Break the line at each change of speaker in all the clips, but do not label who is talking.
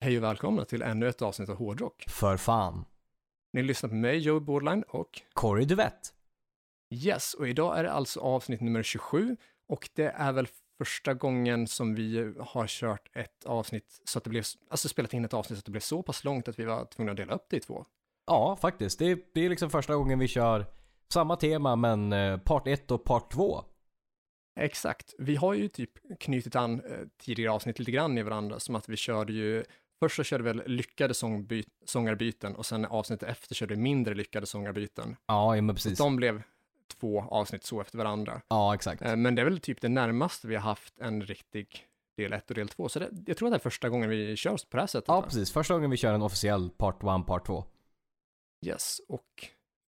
Hej och välkomna till ännu ett avsnitt av Hårdrock.
För fan.
Ni lyssnar på mig, Joey Bordline och
Corey Duvett.
Yes, och idag är det alltså avsnitt nummer 27 och det är väl första gången som vi har kört ett avsnitt så att det blev, alltså spelat in ett avsnitt så att det blev så pass långt att vi var tvungna att dela upp det i två.
Ja, faktiskt. Det är, det är liksom första gången vi kör samma tema men eh, part 1 och part 2.
Exakt. Vi har ju typ knutit an eh, tidigare avsnitt lite grann i varandra, som att vi körde ju, först så körde vi väl lyckade sångby, sångarbyten och sen avsnittet efter körde vi mindre lyckade sångarbyten.
Ja, ja, men precis.
De blev två avsnitt så efter varandra.
Ja, exakt.
Eh, Men det är väl typ det närmaste vi har haft en riktig del 1 och del 2, så det, jag tror att det är första gången vi kör på det här sättet.
Ja,
va?
precis. Första gången vi kör en officiell part 1, part 2.
Yes, och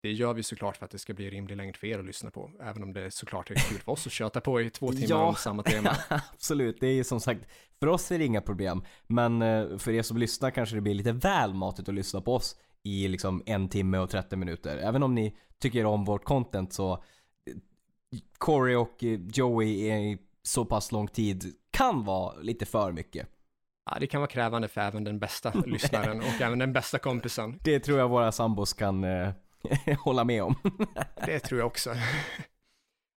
det gör vi såklart för att det ska bli rimlig längd för er att lyssna på, även om det såklart är kul för oss att köta på i två timmar
Ja.
om samma tema.
Absolut, det är som sagt, för oss är det inga problem. Men eh, för er som lyssnar kanske det blir lite väl matigt att lyssna på oss i liksom en timme och 30 minuter. Även om ni tycker om vårt content så eh, Corey och eh, Joey är i så pass lång tid kan vara lite för mycket.
Ja, det kan vara krävande för även den bästa lyssnaren och även den bästa kompisen.
Det tror jag våra sambos kan eh, hålla med om.
Det tror jag också.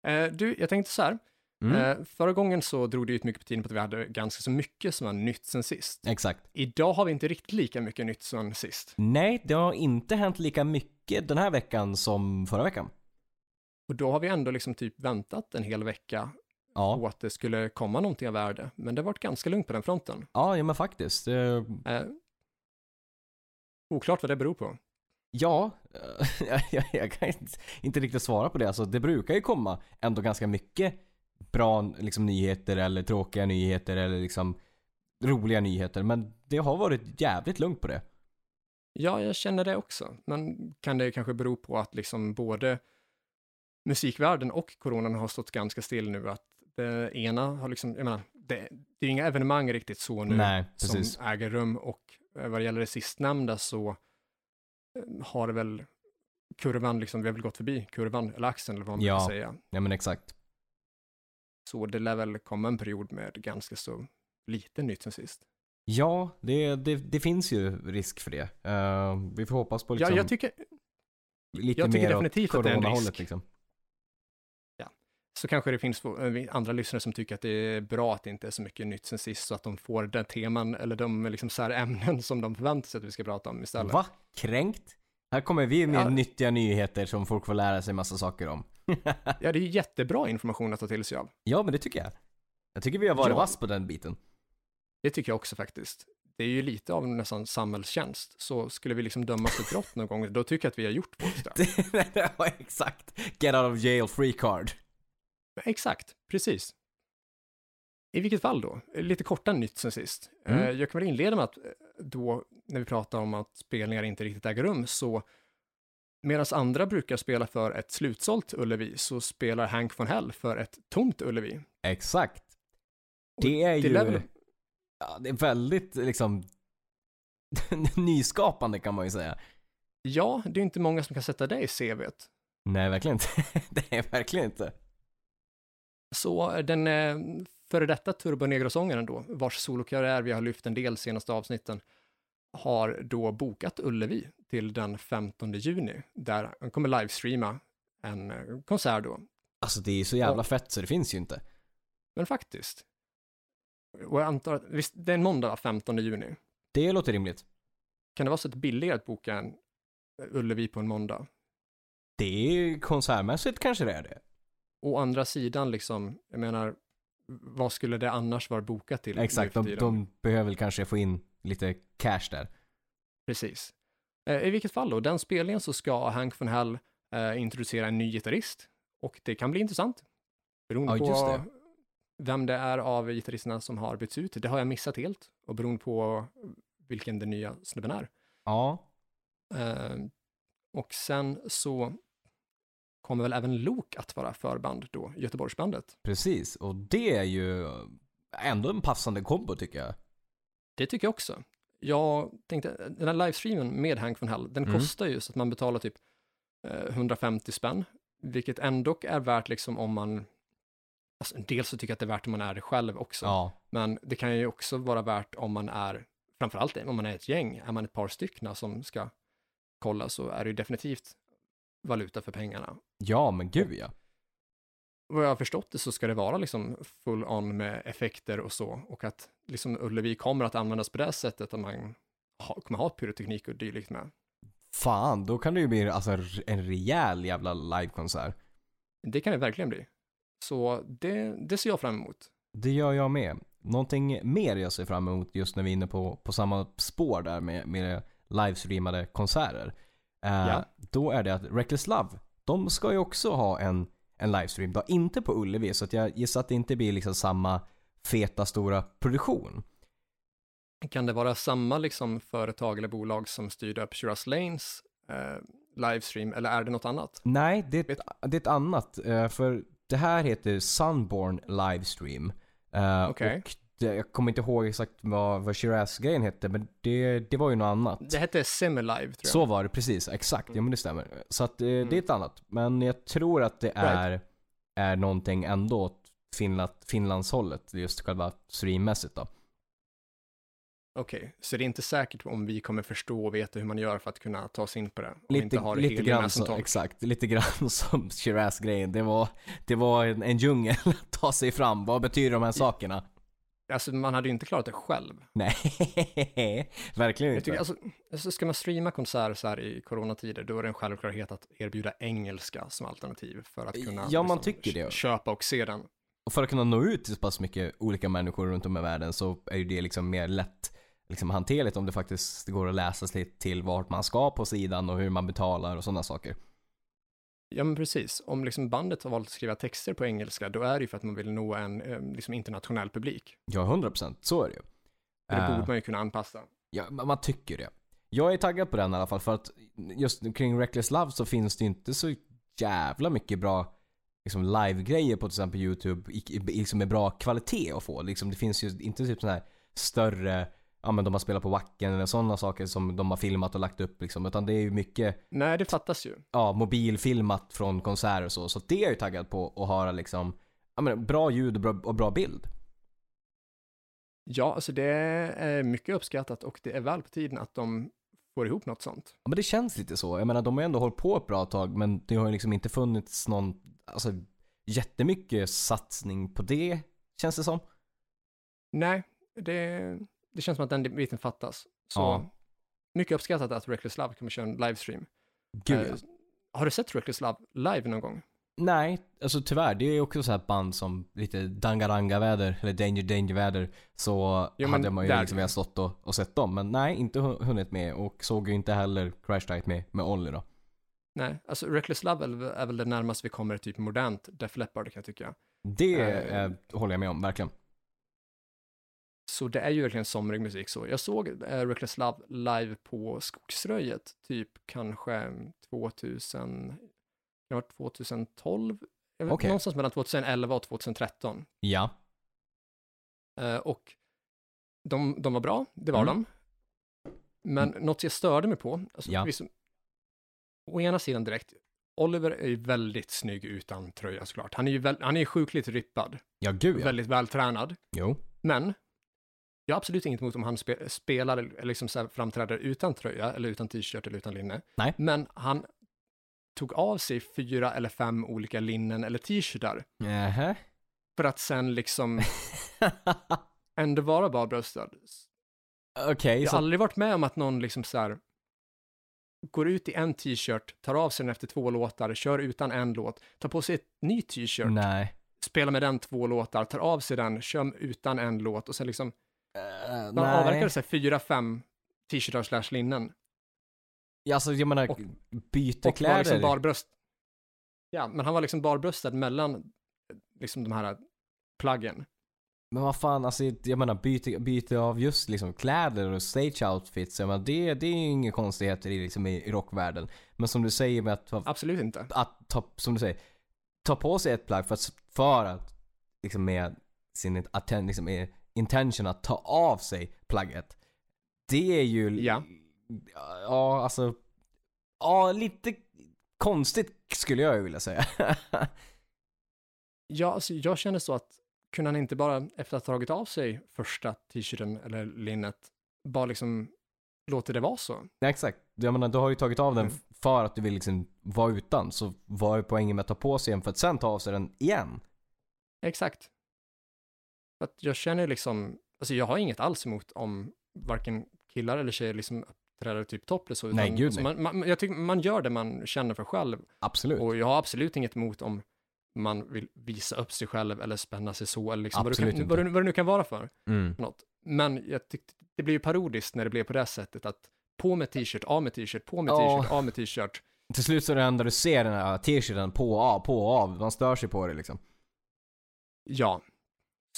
Eh, du, jag tänkte så här.
Mm.
Eh, förra gången så drog det ut mycket på tiden på att vi hade ganska så mycket som var nytt sen sist.
Exakt.
Idag har vi inte riktigt lika mycket nytt som sist.
Nej, det har inte hänt lika mycket den här veckan som förra veckan.
Och då har vi ändå liksom typ väntat en hel vecka
Ja,
på att det skulle komma någonting av värde. Men det har varit ganska lugnt på den fronten.
ja, ja men faktiskt. Eh,
Eh, oklart vad det beror på.
Ja, jag, jag, jag kan inte, inte riktigt svara på det. Alltså, det brukar ju komma ändå ganska mycket bra liksom, nyheter eller tråkiga nyheter eller liksom roliga nyheter. Men det har varit jävligt lugnt på det.
Ja, jag känner det också. Men kan det kanske bero på att liksom både musikvärlden och coronan har stått ganska still nu? Att det ena har liksom, jag menar, det, det är inga evenemang riktigt så nu
Nej,
som
precis.
äger rum och eh, vad det gäller det sistnämnda så eh, har det väl kurvan, liksom, vi har väl gått förbi kurvan, eller axeln eller vad man
Ja.
brukar säga.
Nej men exakt.
Så det lär väl komma en period med ganska så lite nytt sen sist.
Ja, det, det, det finns ju risk för det. Eh, vi får hoppas på liksom,
ja, jag tycker,
lite
jag tycker
mer
definitivt att det är en
coronahållet,
risk.
Liksom.
så kanske det finns eh, andra lyssnare som tycker att det är bra att det inte är så mycket nytt sen sist, så att de får den teman, eller de liksom så här ämnen som de förväntar sig att vi ska prata om istället.
Va? Kränkt? Här kommer vi med
Ja.
nyttiga nyheter som folk får lära sig massa saker om.
Ja, det är ju jättebra information att ta till sig av.
ja, men det tycker jag. Jag tycker vi har varit
Ja.
vass på den biten.
Det tycker jag också faktiskt. Det är ju lite av nästan samhällstjänst, så skulle vi liksom dömas för brott någon gång, då tycker jag att vi har gjort vårt straff.
Det var exakt. Get out of jail free card.
Exakt, precis. I vilket fall då, lite korta nytt sen sist.
Mm.
Eh, Jag kan väl inleda med att eh, då, när vi pratar om att spelningar inte riktigt äger rum, så medan andra brukar spela för ett slutsålt Ullevi, så spelar Hank von Hell för ett tomt Ullevi.
Exakt. Det är
det
ju...
lär väl-
Ja, det är väldigt liksom nyskapande kan man ju säga.
Ja, det är inte många som kan sätta det i CVt.
Nej, verkligen inte. det är verkligen inte.
Så eh, den eh, före detta Turbo Negro-sångaren då, vars solokarriär vi har lyft en del senaste avsnitten, har då bokat Ullevi till den 15 juni, där han kommer livestreama en eh, konsert då.
Alltså det är ju så jävla fett så det finns ju inte.
Men faktiskt. Och jag antar att, visst, det är en måndag va, 15 juni.
Det låter rimligt.
Kan det vara så att det är billigare att boka en eh, Ullevi på en måndag?
Det är ju konsertmässigt kanske det är det.
Å andra sidan liksom, jag menar, vad skulle det annars vara bokat till? nu
Exakt,
för
de,
tiden?
de behöver väl kanske få in lite cash där.
Precis. Eh, I vilket fall då, den spelningen så ska Hank von Hell eh, introducera en ny gitarrist och det kan bli intressant. Beroende
Ja, just
på
det.
vem det är av gitarristerna som har bytts ut, det har jag missat helt och beroende på vilken den nya snubben är.
Ja.
Eh, och sen så kommer väl även Lok att vara förband då, Göteborgsbandet.
Precis, och det är ju ändå en passande kombo tycker jag.
Det tycker jag också. Jag tänkte, den här livestreamen med Hank von Hell, den
Mm.
kostar ju så att man betalar typ eh, 150 spänn, vilket ändå är värt liksom om man, alltså dels så tycker jag att det är värt om man är det själv också,
Ja,
men det kan ju också vara värt om man är framförallt om man är ett gäng, är man ett par stycken som ska kolla så är det ju definitivt valuta för pengarna.
Ja, men gud ja.
Vad jag har förstått det så ska det vara liksom full on med effekter och så och att liksom Ullevi kommer att användas på det här sättet att man ha, kommer ha pyroteknik och dylikt med.
Fan, då kan det ju bli alltså, en rejäl jävla livekonsert.
Det kan det verkligen bli. Så det, det ser jag fram emot.
Det gör jag med. Någonting mer jag ser fram emot just när vi är inne på, på samma spår där med, med livestreamade konserter. Eh,
Ja.
Då är det att Reckless Love, de ska ju också ha en, en livestream. Då. Inte på Ullevi, så att jag gissar att det inte blir liksom samma feta stora produktion.
Kan det vara samma liksom företag eller bolag som styrde upp Shiraz Lanes eh, livestream eller är det något annat?
Nej, det är, ett, det är ett annat. eh, För det här heter Sunborn Livestream. Eh,
Okej.
Och det, jag kommer inte ihåg exakt vad, vad Shiraz-grejen hette, men det, det var ju något annat.
Det hette Semilive tror jag. Mm.
Så var det precis, exakt. Ja men det stämmer. Så att eh, det är ett annat. Men jag tror att det är, är någonting ändå åt Finland, Finlandshållet, just själva streammässigt då.
Okej, så det är inte säkert om vi kommer förstå och veta hur man gör för att kunna ta sig in på det. Och inte
Lite,
ha det
lite
heliga
grann
med som
så,
tolk.
exakt, lite grann som Shiraz-grejen. Det var, det var en, en djungel att ta sig fram. Vad betyder de här sakerna?
Alltså man hade ju inte klarat det själv.
Nej, verkligen
Jag
inte.
tycker, alltså, alltså, ska man streama konserter så här i coronatider, då är det en självklarhet att erbjuda engelska som alternativ för att kunna liksom
Ja, man tycker det.
köpa och se den.
Och för att kunna nå ut till så pass mycket olika människor runt om i världen så är ju det liksom mer lätt liksom hanterligt om det faktiskt går att läsa sig till vart man ska på sidan och hur man betalar och sådana saker.
Ja, men precis. Om liksom bandet har valt att skriva texter på engelska, då är det ju för att man vill nå en eh, liksom internationell publik.
Ja, 100% så är det ju.
Och Det
Eh,
borde man ju kunna anpassa.
ja, man man tycker det. Jag är taggad på den i alla fall för att just kring Reckless Love så finns det ju inte så jävla mycket bra liksom live-grejer på till exempel YouTube i, i, liksom med bra kvalitet att få. Liksom, det finns ju inte typ sådana här större, ja men de har spelat på Wacken eller sådana saker som de har filmat och lagt upp liksom. Utan det är ju mycket,
Nej, det fattas ju.
ja mobilfilmat från konserter och så. Så det är jag ju taggad på att höra liksom, ja men bra ljud och bra, och bra bild.
Ja, alltså det är mycket uppskattat och det är väl på tiden att de får ihop något sånt.
Ja men det känns lite så. Jag menar de har ju ändå hållit på ett bra tag men det har ju liksom inte funnits någon, alltså jättemycket satsning på det känns det som.
Nej, det, det känns som att den biten fattas. Så
Ja.
mycket uppskattat att Reckless Love kommer köra en livestream.
Gud ja.
Eh, Har du sett Reckless Love live någon gång?
Nej, alltså tyvärr. Det är ju också så här band som lite dangaranga-väder, eller danger danger-väder. Så
Jo, men
hade man ju
där-
liksom velat stått och, och sett dem. Men nej, inte hu- hunnit med och såg ju inte heller Crash Diet med, med Olli då.
Nej, alltså Reckless Love är, väl- är väl det närmaste vi kommer typ modernt Def Leppard kan jag tycka.
Det
Eh.
eh, håller jag med om, verkligen.
Så det är ju verkligen somrig musik så. Jag såg eh, Reckless Love live på Skogsröjet, typ kanske 2000, det var 2012, jag vet-
Okej.
någonstans mellan 2011 och 2013.
Ja.
Eh, och de, de var bra, det var
Mm.
de. Men något jag störde mig på, alltså,
Ja.
visst, å ena sidan direkt, Oliver är ju väldigt snygg utan tröja såklart. Han är ju, väl, han är ju sjukligt rippad,
Ja, gud Oh, ja.
väldigt vältränad.
Jo.
Men jag har absolut inget emot om han spe, spelar eller liksom så här framträder utan tröja eller utan t-shirt eller utan linne.
Nej.
Men han tog av sig fyra eller fem olika linnen eller t-shirtar
Nähä.
för att sen liksom ändå vara barbröstad.
Okej,
Jag
så
har aldrig varit med om att någon liksom så här går ut i en t-shirt, tar av sig den efter två låtar, kör utan en låt, tar på sig ett ny t-shirt,
nej.
spelar med den två låtar, tar av sig den, kör utan en låt och sen liksom
Uh,
Man avverkade sig fyra, fem t-shirtar slash linnen.
Ja, alltså jag menar,
Och-
byter
Och var
kläder.
liksom barbröst. Ja, men han var liksom barbröstad mellan eh, liksom de här plaggen.
Men vad fan, alltså jag menar byte, byte av just liksom kläder och stage outfits. Jag menar, det, det är ju inga konstigheter i, liksom, i, i rockvärlden. Men som du säger med att, att,
Absolut inte.
ta, som du säger, ta på sig ett plagg för att, för att liksom med sin atten, liksom, med intention att ta av sig plagget. Det är ju...
Ja.
Ja, alltså... Ja, lite konstigt skulle jag ju vilja säga.
Ja, alltså, jag känner så att kunde han inte bara efter att ha tagit av sig första t-shirten eller linnet bara liksom låter det vara så.
Nej, exakt. Jag menar, du har ju tagit av den
Mm.
för att du vill liksom vara utan. Så vad är poängen med att ta på sig den för att sen ta av sig den igen?
Exakt. För Att jag känner liksom, alltså jag har inget alls emot om varken killar eller tjejer liksom uppträder typ topless. och-
Nej,
utan-
gud,
alltså
nej.
man, man, jag tycker man gör det man känner för själv
Absolut.
och jag har absolut inget emot om man vill visa upp sig själv eller spänna sig så eller liksom vad, du
Absolut
kan,
inte.
vad, du, vad det nu kan vara för
Mm.
något. Men jag tyckte det blev ju parodiskt när det blev på det sättet att på med t-shirt, av med t-shirt, på med
Ja.
t-shirt, av med t-shirt.
Till slut så är det enda du ser den här t-shirten på och av, på och av. Man stör sig på det liksom.
Ja,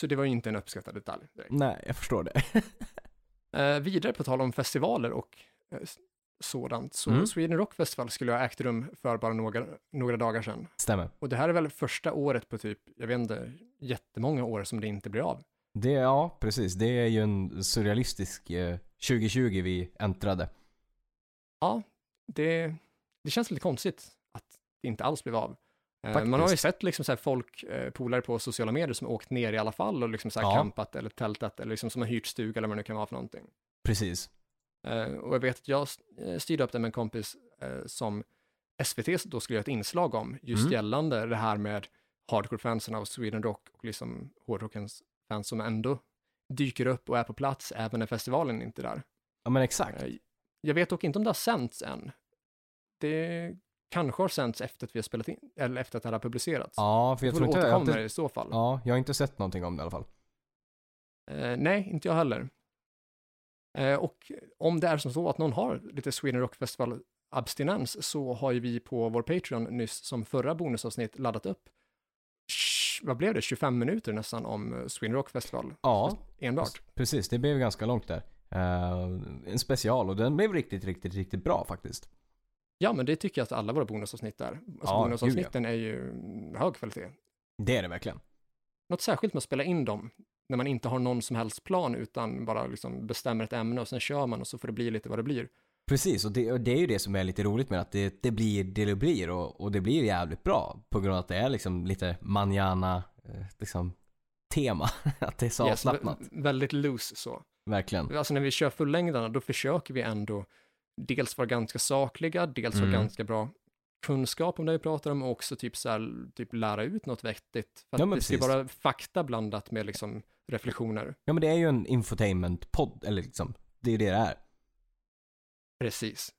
så det var ju inte en uppskattad detalj. direkt.
Nej, jag förstår det. Mm.
Eh, vidare på tal om festivaler och eh, s- sådant, så
Mm.
Sweden Rock Festival skulle ha ägt rum för bara några, några dagar sedan.
Stämmer.
Och det här är väl första året på typ, jag vet inte, jättemånga år som det inte blir av.
Det, ja, precis. Det är ju en surrealistisk eh, 2020 vi äntrade.
Ja, det, det känns lite konstigt att det inte alls blev av. Eh,
Faktiskt.
Man har ju sett liksom så här folk, eh, polare på sociala medier som har åkt ner i alla fall och liksom så här
Ja.
campat eller tältat eller liksom som har hyrt stuga eller vad det nu kan vara för någonting.
Precis.
Eh, och jag vet att jag eh, styrde upp det med en kompis eh, som SVT då skulle göra ett inslag om, just
Mm.
gällande det här med hardcore-fansen av Sweden Rock och liksom hårdrockens fans som ändå dyker upp och är på plats även när festivalen inte är där.
Ja men exakt.
Eh, Jag vet dock inte om det har sänts än. Det kanske har sänts efter att vi har spelat in, eller efter att det här har publicerats.
Ja, för jag
jag
tror
får
inte... Jag har
återkomma
inte
i så fall.
ja, jag har inte sett någonting om det i alla fall.
Eh, nej, inte jag heller. Eh, och om det är som så att någon har lite Sweden Rock Festival abstinens så har ju vi på vår Patreon nyss som förra bonusavsnitt laddat upp, sh, vad blev det, 25 minuter nästan om eh, Sweden Rock Festival
Ja,
enbart.
Precis, det blev ganska långt där. Eh, en special och den blev riktigt, riktigt, riktigt bra faktiskt.
Ja, men det tycker jag att alla våra bonusavsnitt är. Alltså
Ja,
bonusavsnitten är ju mm, hög kvalitet.
Det är det verkligen.
något särskilt med att spela in dem när man inte har någon som helst plan utan bara liksom bestämmer ett ämne och sen kör man och så får det bli lite vad det blir.
Precis, och det, och det är ju det som är lite roligt med att det, det blir det det blir och, och det blir jävligt bra på grund av att det är liksom lite manjana eh, liksom, tema. att det är så
Yes,
avslappnat.
vä- väldigt loose så.
Verkligen.
Alltså när vi kör fullängdarna då försöker vi ändå dels vara ganska sakliga, dels ha
Mm.
ganska bra kunskap om det vi pratar om och också typ så här, typ lära ut något vettigt. För att
Ja, men
det ska ju
precis.
vara fakta blandat med liksom reflektioner.
Ja men det är ju en infotainment-podd, eller liksom, det är ju det det är.
Precis.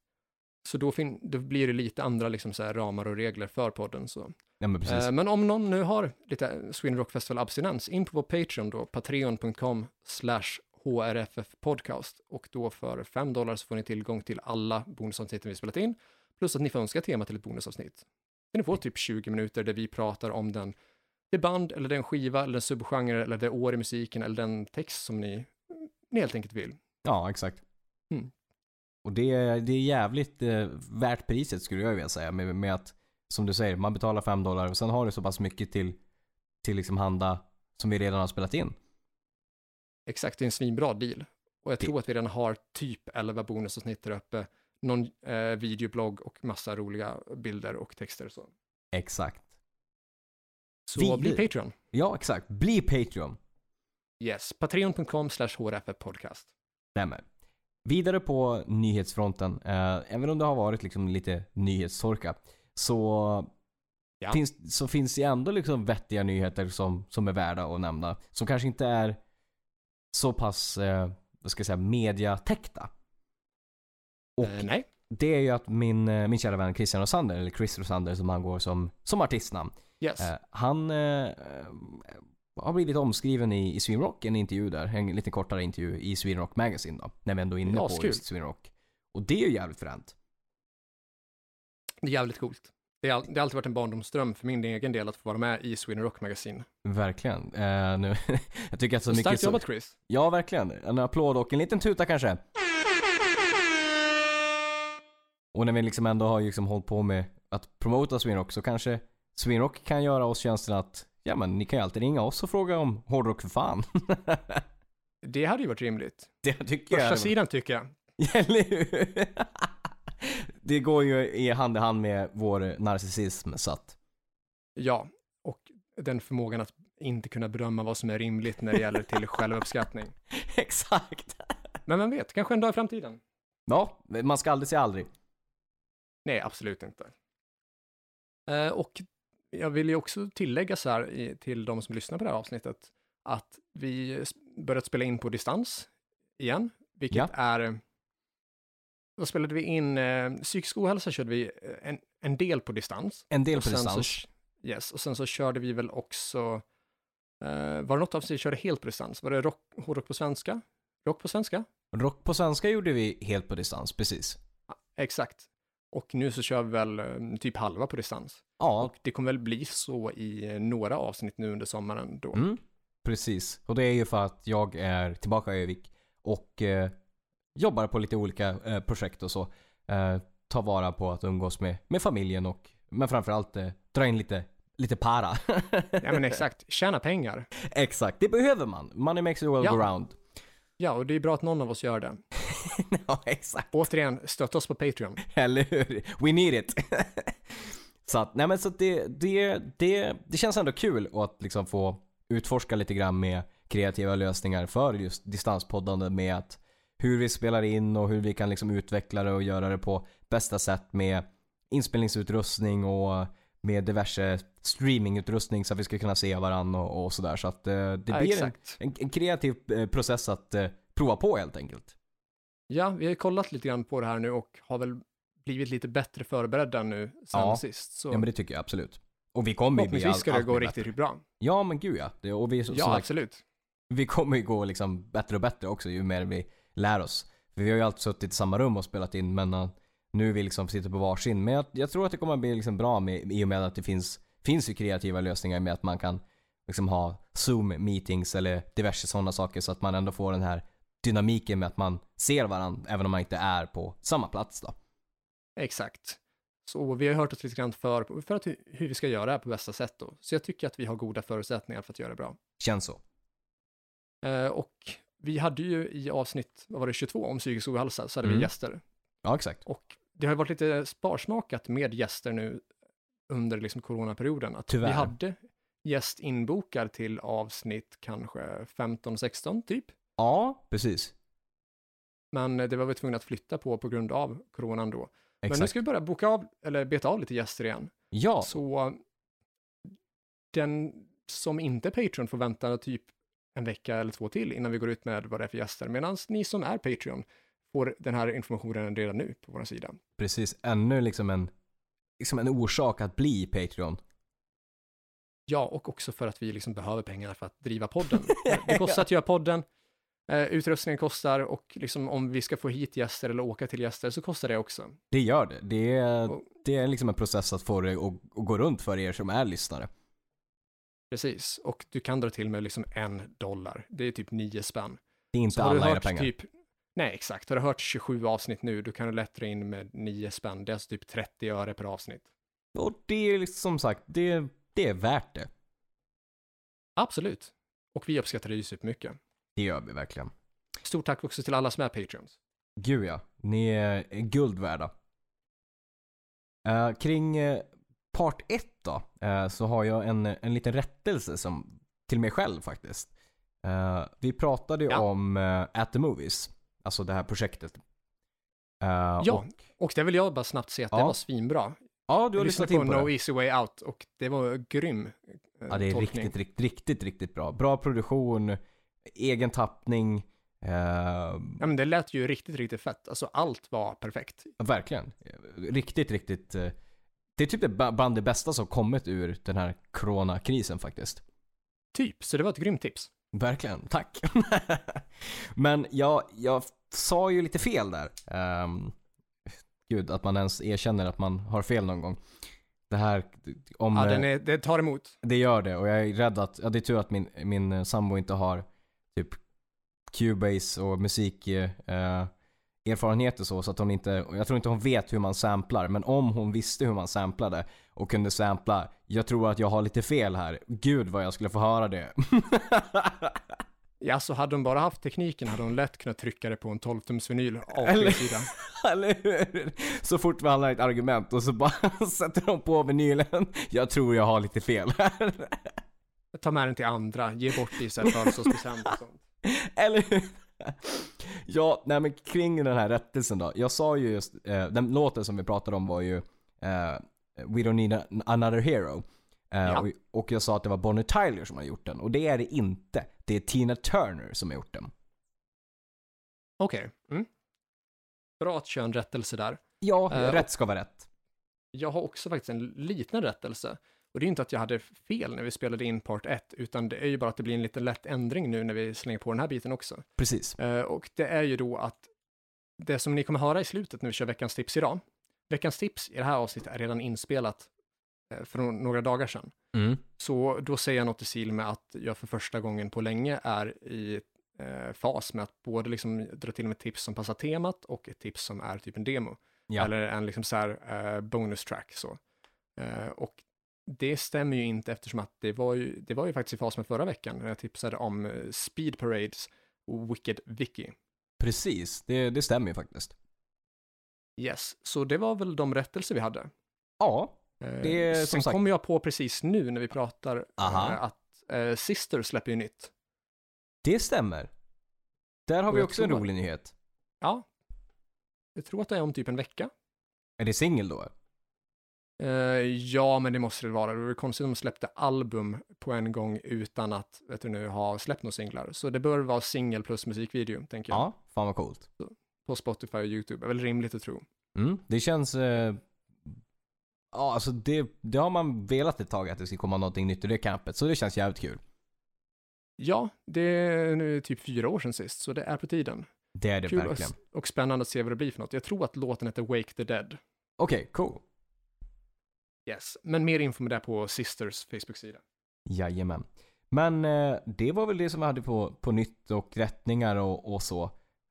Så då, fin- då blir det lite andra liksom så här ramar och regler för podden så.
Ja men precis.
Eh, Men om någon nu har lite Sweden Rock Festival abstinens, in på vår Patreon då, patreon.com slash hrffpodcast och då för 5 dollar så får ni tillgång till alla bonusavsnitten vi spelat in, plus att ni får önska tema till ett bonusavsnitt. Så ni får typ 20 minuter där vi pratar om den, det band eller den skiva eller den subgenre eller det år i musiken eller den text som ni, ni helt enkelt vill.
Ja, exakt.
Mm.
Och det, är- det är jävligt eh, värt priset skulle jag vilja säga. Med, med att, som du säger, man betalar 5 dollar och sen har du så pass mycket till, till liksom handa som vi redan har spelat in.
Exakt, det är en svinbra deal. Och jag
Det-
tror att vi redan har typ 11 bonusavsnitt där uppe, någon eh, videoblogg och massa roliga bilder och texter och så.
Exakt.
Så
Vi-
bli Patreon.
Ja, exakt. Bli Patreon.
Yes, patreon.com slash hrffpodcast.
Stämmer. Vidare på nyhetsfronten. Eh, även om det har varit liksom lite nyhetstorka så,
Ja.
finns, så finns det ändå liksom vettiga nyheter som, som är värda att nämna. Som kanske inte är så pass, eh, vad ska jag säga, mediatäckta. Och
Eh, nej,
det är ju att min, eh, min kära vän Christian Rosander, eller Chris Rosander som han går som, som artistnamn.
yes.
Eh, han eh, eh, har blivit omskriven i, i Sweden Rock, en intervju där, en lite kortare intervju i Sweden Rock Magazine då, när vi ändå är inne
Ja,
på
skul.
just Sweden Rock. Och det är ju jävligt fränt.
Det är jävligt coolt. Det har, det har alltid varit en barndomsdröm för min egen del att få vara med i Sweden Rock Magazine.
Verkligen. Eh, nu, jag tycker att så mycket...
Starkt
så-
jobbat Chris.
Ja, verkligen. En applåd och en liten tuta kanske. Och när vi liksom ändå har liksom hållit på med att promota Sweden Rock så kanske Sweden Rock kan göra oss tjänsten att ja men ni kan ju alltid ringa oss och fråga om hårdrock för fan.
Det hade ju varit rimligt.
det tycker jag.
Första
hade varit-
sidan tycker jag.
Eller hur? Det går ju i hand i hand med vår narcissism så att
Ja, och den förmågan att inte kunna bedöma vad som är rimligt när det gäller till självuppskattning.
Exakt.
Men vem vet, kanske en dag i framtiden.
Ja, man ska aldrig säga aldrig.
Nej, absolut inte. Eh, och jag vill ju också tillägga så här i, till de som lyssnar på det här avsnittet att vi s- börjat spela in på distans igen, vilket
Ja.
är... Vad spelade vi in? Eh, psykisk ohälsa körde vi eh, en, en del på distans.
En del
Och
på
sen så-
distans.
Yes, och sen så körde vi väl också... Eh, var det något avsnitt vi körde helt på distans? Var det rock, hårdrock på svenska? Rock på svenska?
Rock på svenska gjorde vi helt på distans, precis.
Exakt. Och nu så kör vi väl eh, typ halva på distans.
Ja,
Och det kommer väl bli så i eh, några avsnitt nu under sommaren då.
mm, precis. Och det är ju för att jag är tillbaka i Övik och eh, jobbar på lite olika eh, projekt och så. Eh, tar vara på att umgås med, med familjen och, men framförallt eh, dra in lite, lite para.
Ja men exakt, tjäna pengar.
Exakt, det behöver man. Money makes the world
Ja.
go round.
Ja, och det är bra att någon av oss gör det.
ja, exakt.
Återigen, stötta oss på Patreon.
Eller hur? We need it. så att, nej men så att det, det, det, det känns ändå kul att liksom få utforska lite grann med kreativa lösningar för just distanspoddande med att hur vi spelar in och hur vi kan liksom utveckla det och göra det på bästa sätt med inspelningsutrustning och med diverse streamingutrustning så att vi ska kunna se varandra och, och sådär. Så att eh, det
Ja,
blir en,
exakt.
en, en kreativ eh, process att eh, prova på helt enkelt.
Ja, vi har ju kollat lite grann på det här nu och har väl blivit lite bättre förberedda nu sen
Ja.
sist. Så
Ja men det tycker jag absolut. Och vi kommer ju bli
förhoppningsvis
all-
ska det
allt
gå
blir
riktigt bra.
Ja men gud ja. Det, och vi, så,
Ja,
så,
absolut.
vi kommer ju gå liksom bättre och bättre också ju mer vi lär oss. För vi har ju alltid suttit i samma rum och spelat in men eh, nu är vi liksom sitter på varsin. Men jag, jag tror att det kommer bli liksom bra med, i och med att det finns, finns ju kreativa lösningar med att man kan liksom ha zoom-meetings eller diverse sådana saker så att man ändå får den här dynamiken med att man ser varandra även om man inte är på samma plats då.
Exakt. Så vi har hört oss lite grann för, för att, hu- hur vi ska göra det här på bästa sätt då. Så jag tycker att vi har goda förutsättningar för att göra det bra.
Känns så.
Eh, och vi hade ju i avsnitt, vad var det, 22 om psykisk ohälsa, så hade
Mm.
vi gäster.
Ja exakt.
Och det har ju varit lite sparsmakat med gäster nu under liksom coronaperioden. Att
Tyvärr.
Vi hade gäst inbokad till avsnitt kanske 15-16 typ.
Ja precis.
Men eh, det var vi tvungna att flytta på på grund av coronan då. Men nu
Exakt.
ska vi börja boka av, eller beta av lite gäster igen.
Ja.
Så den som inte är Patreon får vänta typ en vecka eller två till innan vi går ut med vad det är för gäster. Medan ni som är Patreon får den här informationen redan nu på vår sida.
Precis, ännu liksom en, liksom en orsak att bli Patreon.
Ja, och också för att vi liksom behöver pengar för att driva podden. Det kostar att göra podden, eh, utrustningen kostar och liksom om vi ska få hit gäster eller åka till gäster så kostar det också.
Det gör det. Det är,
Och-
det är liksom en process att få det att att gå runt för er som är lyssnare.
Precis, och du kan dra till med liksom en dollar. Det är typ nio spänn.
Det är inte
har du
alla era
hört
pengar.
Typ, nej, exakt. Har du hört 27 avsnitt nu, då kan du lätt dra in med nio spänn. Det är alltså typ 30 öre per avsnitt.
Och det är liksom, som sagt, det, det är värt det.
Absolut. Och vi uppskattar det ju supermycket.
Det gör vi verkligen.
Stort tack också till alla som är Patreons.
Gud ja, ni är guld värda. Eh, kring eh, part 1 då, eh, så har jag en, en liten rättelse som, till mig själv faktiskt. Eh, vi pratade ju
Ja.
om eh, At the Movies, alltså det här projektet. Eh,
Ja.
och-
Och där vill jag bara snabbt säga att det
Ja.
var svinbra.
ja, du
Jag lyssnade
har lyssnat
på,
in på
No
det.
Easy Way Out och det var grym eh,
Ja, det är
tolkning.
riktigt, riktigt, riktigt, riktigt bra. Bra produktion, egen tappning. eh,
Ja, men det lät ju riktigt, riktigt fett. Alltså allt var perfekt.
Ja, Verkligen. Riktigt, riktigt. eh, Det är typ det ba- bland det bästa som kommit ur den här coronakrisen faktiskt.
Typ, så det var ett grymt tips.
Verkligen, tack. Men jag, jag sa ju lite fel där. Ehm, gud, att man ens erkänner att man har fel någon gång. Det här, om
Ja,
eh,
den är, det tar emot.
det gör det och jag är rädd att, ja det är tur att min, min eh, sambo inte har typ Cubase och musik eh, erfarenhet och så, så att hon inte, och jag tror inte hon vet hur man samplar, men om hon visste hur man samplade och kunde sampla, jag tror att jag har lite fel här. Gud vad jag skulle få höra det.
Ja, så hade hon bara haft tekniken hade hon lätt kunnat trycka det på en 12-tums vinyl
Eller-
A4-sida.
Eller hur? Så fort vi hamnar i ett argument och så bara sätter de på vinylen. Jag tror jag har lite fel här.
Ta med den till andra, ge bort det i så här födelsedagspresent och sånt.
Eller hur? ja, nej men kring den här rättelsen då. Jag sa ju just, eh, den låten som vi pratade om var ju eh, We Don't Need An- Another Hero. Eh,
Ja.
och, och jag sa att det var Bonnie Tyler som har gjort den. Och det är det inte. Det är Tina Turner som har gjort den.
Okej. Mm. Bra att köra en rättelse där.
Ja,
Eh,
rätt ska vara rätt.
Jag har också faktiskt en liten rättelse. Och det är inte att jag hade fel när vi spelade in part 1, utan det är ju bara att det blir en liten lätt ändring nu när vi slänger på den här biten också.
Precis.
Eh, Och det är ju då att det som ni kommer höra i slutet när vi kör veckans tips idag, veckans tips i det här avsnittet är redan inspelat eh, för no- några dagar sedan. Så då säger jag något i stil med att jag för första gången på länge är i eh, fas med att både liksom dra till med tips som passar temat och ett tips som är typ en demo.
Ja.
Eller en liksom så här eh, bonus track så. Eh, och det stämmer ju inte eftersom att det var ju, det var ju faktiskt i fas med förra veckan när jag tipsade om eh, Speed Parades och Wicked Vicky.
Precis, det, det stämmer ju faktiskt.
Yes, så det var väl de rättelser vi hade.
Ja,
Eh,
Det är som
Sen
sagt-
kommer jag på precis nu när vi pratar eh,
Aha.
att eh, Sister släpper ju nytt.
det stämmer. Där har
Och
vi
jag
också en
tror-
rolig nyhet.
Ja. Jag tror att det är om typ en vecka.
Är det singel då?
Eh, ja, men det måste det vara. Det vore konstigt om de släppte album på en gång utan att, vet du nu, ha släppt några singlar. Så det bör vara singel plus musikvideo, tänker jag.
Ja, fan vad coolt.
På Spotify och YouTube. Det är väl rimligt att tro.
Mm, det känns... Eh, ja, alltså det, det har man velat ett tag att det ska komma någonting nytt i det campet, så det känns jävligt kul.
Ja, det är nu typ fyra år sedan sist, så det är på tiden.
Det är det
Kul och,
verkligen.
och spännande att se vad det blir för något. Jag tror att låten heter Wake the Dead.
Okej, cool.
Yes, men mer info med det på Sisters Facebook-sida.
Jajamän. Men eh, det var väl det som vi hade på, på nytt och rättningar och, och så.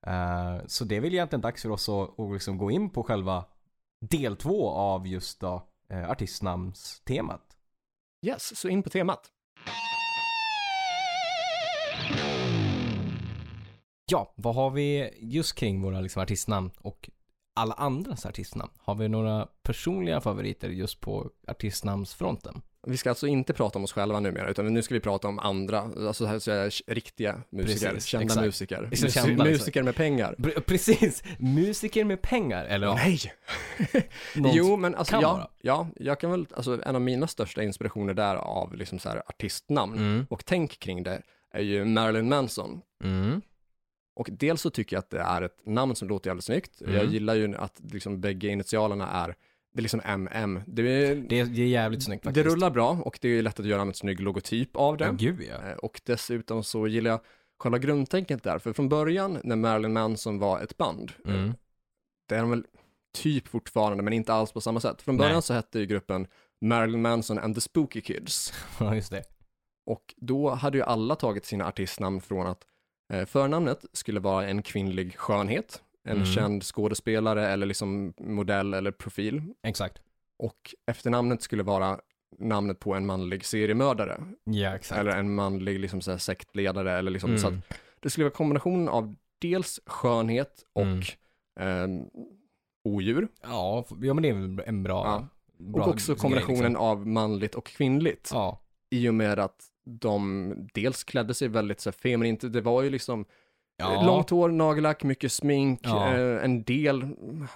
Eh, så det är väl egentligen dags för oss att, att liksom gå in på själva del två av just då, eh, artistnamnstemat.
Yes, så in på temat.
Ja, vad har vi just kring våra liksom, artistnamn och alla andras artistnamn? Har vi några personliga favoriter just på artistnamnsfronten?
Vi ska alltså inte prata om oss själva numera, utan nu ska vi prata om andra, alltså här så här, riktiga musiker,
Precis,
kända
exakt.
musiker,
Liksom
Musi-
kända, liksom.
musiker med pengar.
Precis! Musiker med pengar, eller ja,
Nej!
någon-
jo, men alltså,
kan vara.
ja, ja, jag kan väl, alltså en av mina största inspirationer där av liksom så här artistnamn
Mm,
och tänk kring det är ju Marilyn Manson.
mm,
Och dels så tycker jag att det är ett namn som låter jävligt snyggt.
Mm.
Jag gillar ju att liksom bägge initialerna är, det är liksom MM. Det, är,
det, är, det är jävligt snyggt
det
faktiskt.
rullar bra och det är lätt att göra med en snygg logotyp av det.
Ja, gud ja.
Eh, Och dessutom så gillar jag själva grundtänket där, för från början när Marilyn Manson var ett band, eh,
Mm.
det är de väl typ fortfarande, men inte alls på samma sätt. Från
Nej.
början så hette ju gruppen Marilyn Manson and the Spooky Kids.
Ja, just det.
Och då hade ju alla tagit sina artistnamn från att eh, förnamnet skulle vara en kvinnlig skönhet, en
Mm.
känd skådespelare eller liksom modell eller profil.
Exakt.
Och efternamnet skulle vara namnet på en manlig seriemördare
Ja, exakt.
eller en manlig liksom, så här, sektledare eller liksom,
Mm.
så att det skulle vara kombinationen av dels skönhet och
Mm.
ehm, odjur.
Ja, f- ja, men det är väl en bra...
Ja.
bra
och också
grej,
kombinationen
liksom.
av manligt och kvinnligt.
Ja,
I och med att de dels klädde sig väldigt så här, feminint, det var ju liksom
ja.
långt hår, nagellack, mycket smink,
Ja.
eh, en del mm,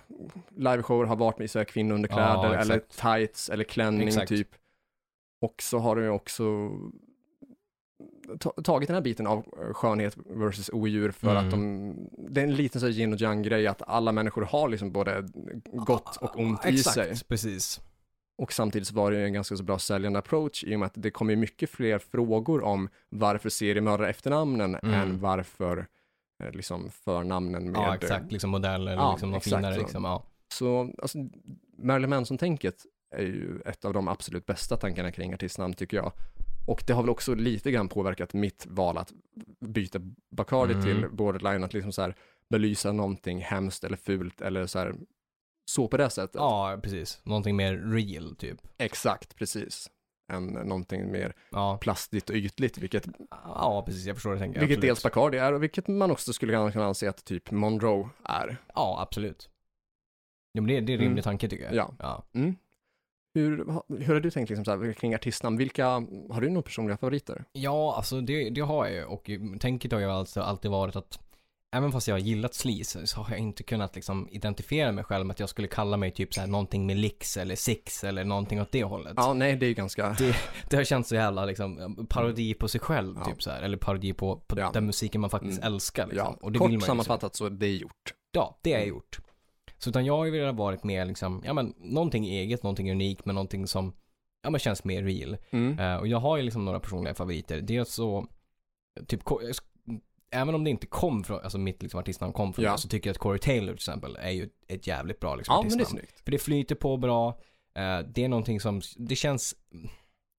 liveshower har varit med så här, kvinnounderkläder
Ja,
eller
exakt.
tights eller klänning
Exakt.
typ. Och så har de ju också ta- tagit den här biten av eh, skönhet versus odjur för
Mm.
att de, det är en liten så här yin och yang grej att alla människor har liksom både gott och ont i
Exakt,
sig.
precis.
Och samtidigt så var det ju en ganska så bra säljande approach i och med att det kommer ju mycket fler frågor om varför seriemördare efternamnen
Mm.
än varför eh, liksom förnamnen med.
Ja, exakt. Liksom modell eller
Ja,
liksom något
exakt
finare
så.
liksom. Ja.
Så alltså, Marilyn Manson-tänket är ju ett av de absolut bästa tankarna kring artistnamn tycker jag. Och det har väl också lite grann påverkat mitt val att byta Bacardi
Mm.
till Borderline, att liksom så här belysa någonting hemskt eller fult eller så här, så på det sättet.
ja, precis. Någonting mer real typ.
Exakt, precis. Än någonting mer
Ja,
plastigt och ytligt, vilket,
ja precis. Jag förstår det tänker jag.
vilket dels
absolut.
Bacardi är och vilket man också skulle kunna anse att typ Monroe är.
Ja, absolut. Ja, men det, det är en rimlig
Mm.
tanke tycker jag.
Ja.
ja.
Mm. Hur, ha- hur har du tänkt liksom så här, kring artistnamn? Vilka, har du några personliga favoriter?
Ja, alltså det, det har jag ju och tänket har ju alltså alltid varit att även fast jag har gillat sleaze så har jag inte kunnat liksom identifiera mig själv med att jag skulle kalla mig typ så här någonting med lix eller six eller någonting åt det hållet.
Ja, nej, det är ju ganska...
Det, det har känts så jävla liksom parodi på sig själv
Ja.
typ så här, eller parodi på, på
Ja.
den musiken man faktiskt
Mm.
älskar liksom.
Ja,
Och det
kort
vill man ju så-
sammanfattat så, det är gjort.
Ja, det har jag
Mm.
gjort. Så utan jag har ju velat varit mer liksom, ja men någonting eget, någonting unikt, men någonting som, ja men känns mer real.
Mm.
Eh, och jag har ju liksom några personliga favoriter. Dels så, typ, ko- även om det inte kom från, alltså mitt liksom artistnamn kom från
Ja.
det, så tycker jag att Corey Taylor till exempel är ju ett jävligt bra liksom
Ja, men
artistnamn.
det är snyggt.
För det flyter på bra, eh, det är någonting som, det känns,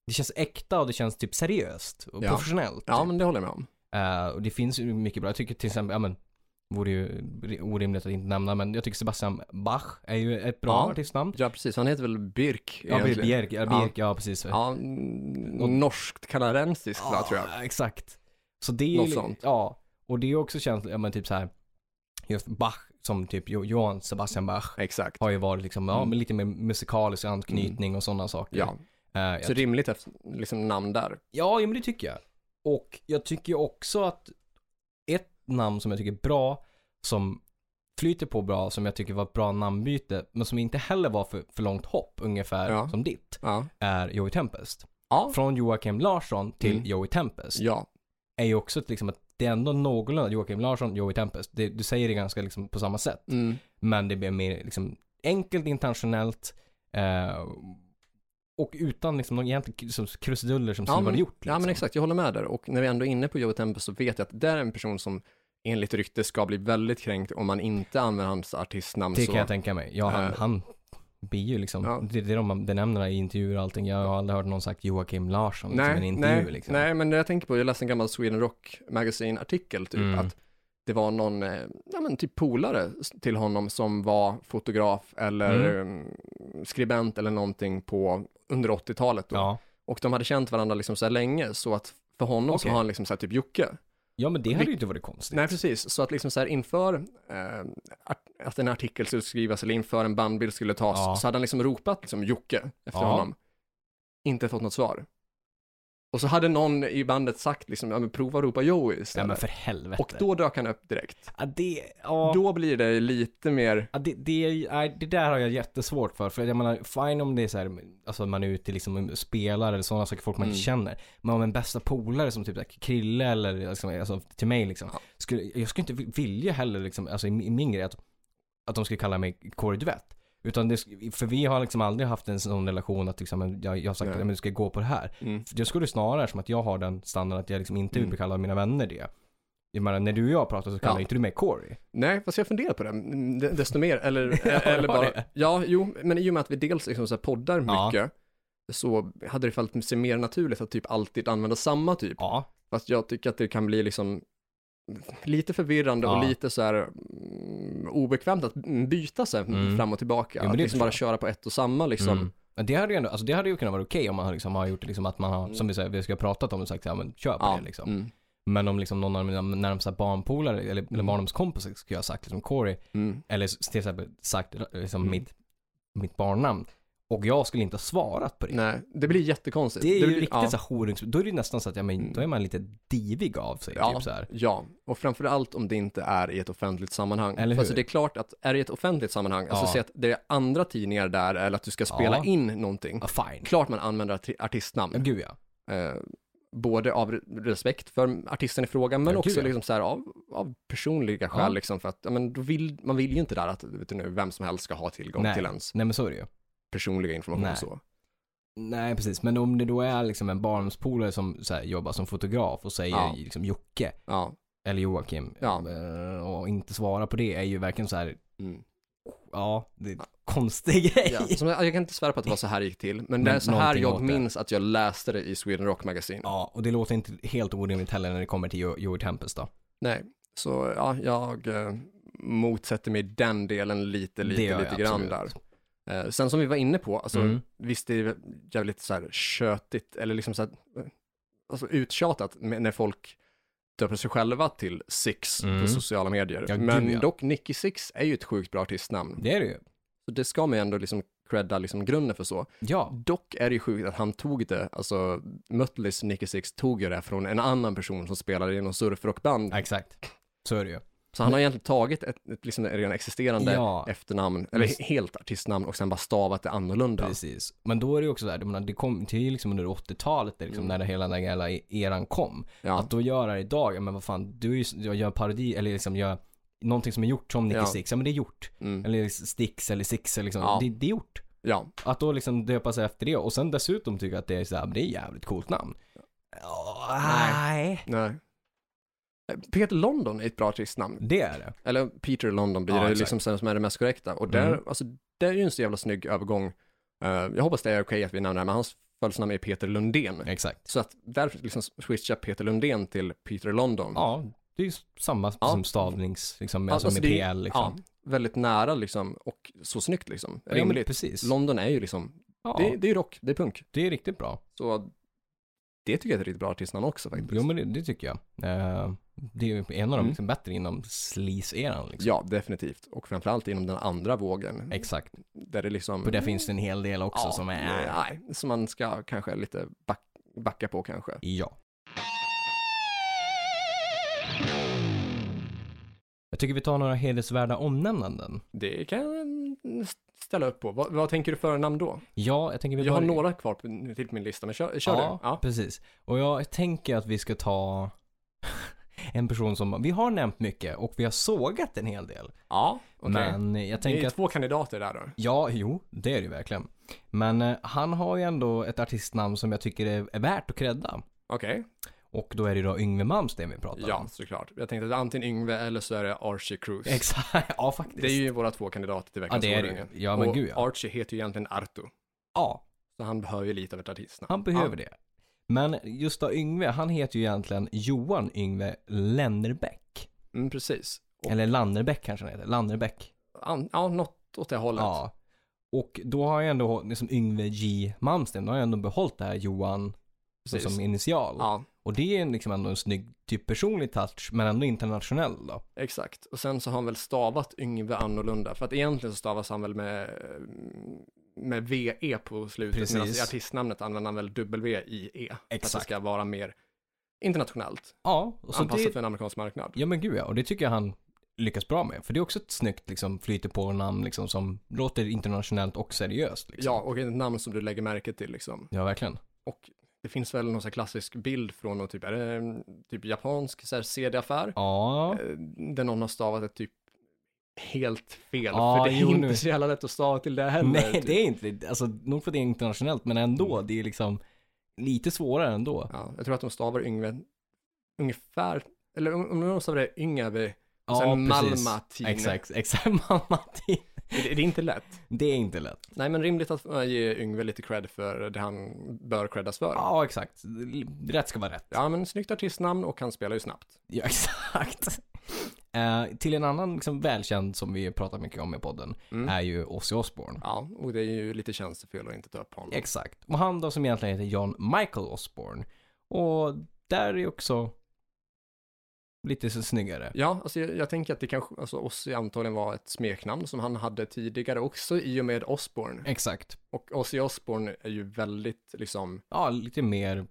det känns äkta och det känns typ seriöst och
Ja.
professionellt.
Ja,
typ.
men det håller jag med om.
Eh, och det finns ju mycket bra. Jag tycker till exempel, ja men, vore ju orimligt att inte nämna, men jag tycker Sebastian Bach är ju ett bra
Ja.
artistnamn.
Ja, precis. Han heter väl Birk
Ja, Björk,
egentligen?
Björk, ja,
Ja.
Björk, ja precis.
Ja, mm, norskt kanadensiskt va, tror jag.
Ja, exakt. Så det är ju
Något
li-
sånt.
Ja, och det är också känsligt, ja men typ så här, just Bach, som typ Jo- Johann Sebastian Bach,
Exakt.
har ju varit liksom, ja
Mm.
men lite mer musikalisk anknytning och sådana saker.
Ja,
Eh, jag
så rimligt efter, liksom, namn där.
Ja, ja, men det tycker jag. Och jag tycker ju också att ett namn som jag tycker är bra, som flyter på bra, som jag tycker var ett bra namnbyte, men som inte heller var för, för långt hopp, ungefär
Ja.
som ditt,
Ja,
är Joey Tempest.
ja.
Från Joakim Larsson till
Mm.
Joey Tempest
ja.
är ju också ett, liksom att det är ändå någorlunda Joakim Larsson, Joey Tempest. Det, du säger det ganska liksom på samma sätt,
Mm.
men det blir mer liksom enkelt, internationellt eh, och utan liksom någon egentlig liksom, krusiduller som skulle vara
men,
gjort. Liksom.
ja, men exakt. Jag håller med där. Och när vi ändå är inne på Joey Tempest så vet jag att det är en person som enligt rykte ska bli väldigt kränkt om man inte använder hans artistnamn.
Det
så.
kan jag tänka mig. Ja, han,
Eh.
han blir ju liksom,
Ja.
det, det är de man benämner i intervjuer och allting. Jag har aldrig hört någon sagt Joakim Larsson liksom, i en
Nej,
intervju
nej,
liksom.
nej, men det jag tänker på, jag läste en gammal Sweden Rock Magazine-artikel typ,
Mm.
att det var någon, eh, ja men typ polare s- till honom som var fotograf eller mm, skribent eller någonting på, under 80-talet då.
Ja.
Och de hade känt varandra liksom så här länge, så att för honom så
Okej.
har han liksom så här typ Jocke.
ja, men det hade ju inte varit konstigt.
Nej, precis. Så att liksom så här inför eh, art- att en artikel skulle skrivas eller inför en bandbild skulle tas
Ja.
så hade han liksom ropat liksom Jocke efter
Ja.
honom. Inte fått något svar. Och så hade någon i bandet sagt liksom, ja men prova att ropa Joey
Ja,
istället.
men för helvete.
Och då dök han upp direkt.
ja, det, ja.
Då blir det lite mer,
Ja, det, det, är ju- nej, det där har jag jättesvårt för. För jag menar, fine om det är så här, alltså man är ute liksom och spelar eller sådana saker, folk man
Mm.
inte känner. Men om en bästa polare som typ så här, Krille eller liksom, alltså, till mig liksom.
Ja.
Skulle, jag skulle inte vi- vilja heller liksom, alltså i min i min grej att, att de skulle kalla mig Kåre Duvett. Utan det, sk- för vi har liksom aldrig haft en sån relation att liksom, jag, jag har sagt
Nej.
att men du ska gå på det här.
mm,
För Jag skulle snarare som att jag har den standarden att jag liksom inte
Mm.
vill kalla mina vänner det. Jag menar, när du och jag pratar så kallar
Ja.
inte du mig Corey.
nej fast jag funderar på det, Mm, de- desto mer, eller, eh,
Ja,
eller
det var
bara,
det.
ja jo, men i och med att vi dels liksom så här poddar
Ja.
mycket så hade det fallit sig mer naturligt att typ alltid använda samma typ
Ja,
Fast jag tycker att det kan bli liksom lite förvirrande
Ja.
och lite så här mm, obekvämt att mm, byta sig
Mm.
fram och tillbaka.
Jo, men
att
det
liksom
förstår
bara köra på ett och samma liksom.
Mm. Men det hade ju ändå, alltså det hade ju kunnat vara okej om man liksom har gjort det liksom att man har, som vi, säger, vi ska ha pratat om och sagt ja men kör på
Mm. Ja,
det liksom.
mm.
Men om liksom någon av mina närmsta barnpolare eller, eller barndomskompisar skulle jag ha sagt liksom Corey,
Mm.
eller s- till exempel sagt liksom
Mm.
mitt, mitt barnnamn och jag skulle inte ha svarat på det.
Nej, det blir jättekonstigt.
Det är ju
blir,
riktigt
ja,
så här horungs, då är det ju nästan så att ja, men,
Mm.
då är man lite divig av sig
ja,
typ så här.
ja, och framför allt om det inte är i ett offentligt sammanhang.
Eller
För alltså
hur?
det är klart att är det i ett offentligt sammanhang,
Ja.
alltså se att det är andra tidningar där eller att du ska spela
Ja.
in någonting.
Ja, fine.
Klart man använder arti-
Ja,
artistnamn.
gud ja.
Eh, både av re- respekt för artisten i fråga, men
Ja, gud,
också
ja.
liksom så här, av, av personliga skäl.
Ja.
Liksom, för att, ja, men då vill, man vill ju inte där att vet du nu, vem som helst ska ha tillgång
Nej.
till ens
Nej men så är det ju.
personliga information.
Nej.
och Så.
Nej precis, men om det då är liksom en barndomspolare som så här, jobbar som fotograf och säger
Ja.
liksom Jocke,
Ja.
eller Joakim
Ja.
eh, och inte svara på det är ju verkligen så här,
Mm.
ja, det är en konstig grej.
Ja. Som, jag jag kan inte svära på att det var så här det gick till, men, det
Men
är så här
någonting åt
jag
det.
minns att jag läste det i Sweden Rock Magazine.
Ja, och det låter inte helt orimligt heller när det kommer till Jo- Joey Tempest då.
Nej, så ja, jag eh, motsätter mig den delen lite,
Det gör
lite,
jag
lite grann där.
absolut.
Eh, sen som vi var inne på, alltså,
Mm.
visst det är jävligt så här tjötigt, eller liksom så här, eh, alltså uttjatat med, när folk döper sig själva till Six
Mm.
på sociala medier.
Ja, gud,
Men
ja.
dock, Nicky Six är ju ett sjukt bra artistnamn.
Det är det ju.
Så det ska man ju ändå liksom credda liksom grunden för så.
Ja,
Dock är det ju sjukt att han tog det, alltså Mötleys Nicky Six tog ju det från en annan person som spelade i någon surfrockband
exakt. Så är det ju.
Så han har egentligen tagit ett, ett liksom redan existerande
Ja.
efternamn, eller
Just-
helt artistnamn och sen bara stavat det annorlunda.
Precis. Men då är det ju också där, jag menar, det kom till ju liksom under 80-talet där liksom,
Mm.
när hela den här gamla eran kom.
Ja.
Att då göra det idag, ja men vad fan, du är ju, jag gör en parodi eller liksom gör någonting som är gjort som Nicky
Ja.
Six, ja men det är gjort.
Mm.
Eller Stix eller Six eller liksom,
Ja.
det, det är gjort.
Ja,
Att då liksom döpa sig efter det och sen dessutom tycka att det är såhär, det är jävligt coolt namn. Ja, nej.
nej. Peter London är ett bra artistnamn.
Det är det.
Eller Peter London blir
Ja,
det
exakt.
liksom sen som är det mest korrekta. Och där,
Mm.
alltså, det är ju en så jävla snygg övergång. Eh, jag hoppas det är okej att vi nämner det, här, men hans födelsenamn är Peter Lundén.
Exakt.
Så att därför liksom switcha Peter Lundén till Peter London.
Ja, det är ju samma
Ja.
som stavnings, liksom,
Ja,
alltså med
det är-
PL liksom.
Ja, väldigt nära liksom och så snyggt liksom.
Ja, men
Rimligt.
precis.
London är ju liksom,
Ja,
det, det är rock, det är punk.
det är riktigt bra.
Så det tycker jag är ett riktigt bra artistnamn också faktiskt.
Jo men det, det tycker jag. Eh, det är ju en av de
Mm.
liksom, bättre inom sleaze-eran. Liksom.
Ja, definitivt. Och framförallt inom den andra vågen.
Exakt.
Där det liksom...
För där finns det en hel del också som är... Ja.
Nej, som man ska kanske lite back, backa på kanske.
Jag tycker vi tar några hedersvärda omnämnanden.
Det kan jag st- ställa upp på. Vad, vad tänker du för namn då?
Ja, jag tänker vi
Jag har
börjar-
några kvar på, till på min lista, men kör, kör
ja,
du. Ja.
precis. Och jag tänker att vi ska ta en person som... Vi har nämnt mycket och vi har sågat en hel del.
ja okej.
Men jag
det
tänker
är
att...
två kandidater där då.
Ja, jo, det är det ju verkligen. Men eh, han har ju ändå ett artistnamn som jag tycker är, är värt att credda.
Okej,
Och då är det då Yngwie Malmsteen vi pratar
ja
om.
såklart. Jag tänkte att det är antingen Yngve eller så är det Archie Cruz.
Exakt, ja faktiskt.
Det är ju våra två kandidater till
ja,
veckans
det är det
Åringen.
ju. Ja men
och
gud ja.
Archie heter ju egentligen Arto,
ja.
så han behöver ju lite av ett artistnamn.
Han behöver det. Men just då Yngve, han heter ju egentligen Johan Yngve Lennerbäck.
Mm, precis. Och,
Eller Lannerbäck kanske han heter, Lannerbäck.
an, ja, något åt det hållet.
Ja. Och då har jag ändå, liksom Yngve J Malmsten, då har jag ändå behållit det här Johan så
Precis.
som initial.
ja,
Och det är liksom ändå en snygg, typ personlig touch, men ändå internationell då.
exakt. Och sen så har han väl stavat Yngve annorlunda, för att egentligen så stavas han väl med, med VE på slutet,
Precis.
medan i artistnamnet använder han väl WIE. För att
Exakt.
det ska vara mer internationellt,
Ja, och så
anpassat
det,
för en amerikansk marknad.
Ja men gud ja, och det tycker jag han lyckas bra med. För det är också ett snyggt liksom, flyter på namn liksom, som låter internationellt och seriöst. Liksom.
Ja, och ett namn som du lägger märke till liksom.
Ja, verkligen.
Och det finns väl någon sån här klassisk bild från någon typ, är det mm, typ japansk så här CD-affär?
Ja,
Eh, där någon har stavat det typ helt fel.
Ja,
för det är
jo,
inte
nu-
så jävla lätt att stava till det heller.
nej
typ. Mm.
det är inte det. Alltså nog för att det är internationellt, men ändå, det är liksom lite svårare ändå.
ja, jag tror att de stavar Yngve ungefär, eller om om de stavar det Yngve,
Ja,
sen
precis.
Malmatine.
Exakt, exakt. Malmatin.
Det, det är inte lätt.
Det är inte lätt.
Nej, men rimligt att äh, ge Yngve lite cred för det han bör creddas för. Ja.
Ja, exakt. Rätt ska vara rätt.
men snyggt artistnamn och han spelar ju snabbt.
Ja, exakt. Eh, till en annan liksom, välkänd som vi pratar mycket om i podden
Mm.
är ju Ozzy Osbourne.
Ja, och det är ju lite tjänstefel att inte ta upp honom.
Exakt. Och han då som egentligen heter John Michael Osborne. Och där är ju också lite så snyggare.
Ja, alltså jag, jag tänker att det kanske, alltså Ozzy antagligen var ett smeknamn som han hade tidigare också i och med Osborne.
Exakt.
Och Ozzy Osbourne är ju väldigt, liksom,
Ja, lite mer...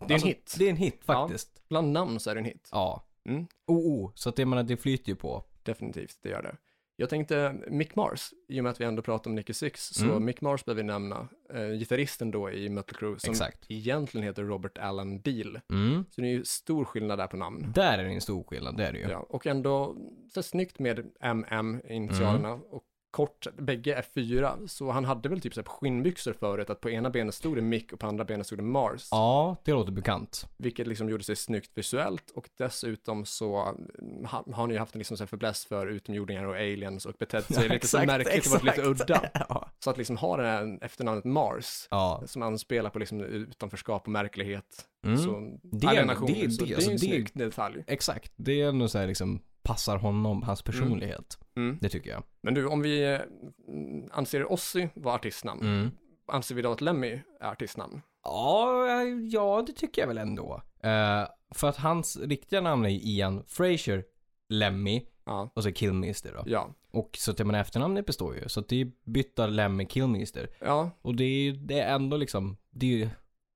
alltså,
det är en hit.
Det är en hit faktiskt.
Bland namn så är det en hit.
Ja.
Mm.
Oh, oh. Så att det, jag menar, det flyter ju på.
Definitivt, det gör det. Jag tänkte Mick Mars, i och med att vi ändå pratar om Nicky Six, så
Mm.
Mick Mars behöver vi nämna, eh, gitarristen då i Mötley Crüe, som
Exakt.
egentligen heter Robert Allen Deal.
Mm.
Så det är ju stor skillnad där på namn.
Där är det en stor skillnad, det är det ju.
Ja. och ändå så snyggt med MM, initialerna, och kort, bägge är fyra, så han hade väl typ så här skinnbyxor förut, att på ena benet stod det Mick och på andra benet stod det Mars.
Ja, det låter bekant.
vilket liksom gjorde sig snyggt visuellt och dessutom så mm, ha- har ni ju haft en liksom så här fäbless för utomjordingar och aliens och betett sig lite så märkligt och varit lite
exakt.
udda.
ja.
Så att liksom ha det här efternamnet Mars
ja.
som anspelar på liksom utanförskap och märklighet.
Mm.
Så,
Det är-
alienationer,
det är-
så
det-
det är
alltså
ju en
det-
snygg detalj.
Exakt. Det är ändå så här liksom, passar honom, hans personlighet.
Mm.
Det tycker jag.
Men du, om vi eh, mm, anser Ozzy vara artistnamn,
Mm.
anser vi då att Lemmy är artistnamn?
Ja, ja det tycker jag väl ändå. Eh, för att hans riktiga namn är ju Ian Fraser Lemmy
Ja.
och så Killmister då.
Ja,
Och så att jag menar efternamnet består ju. Så att det är bytta Lemmy Killmister.
ja
Och det är ju det är ändå liksom, det är ju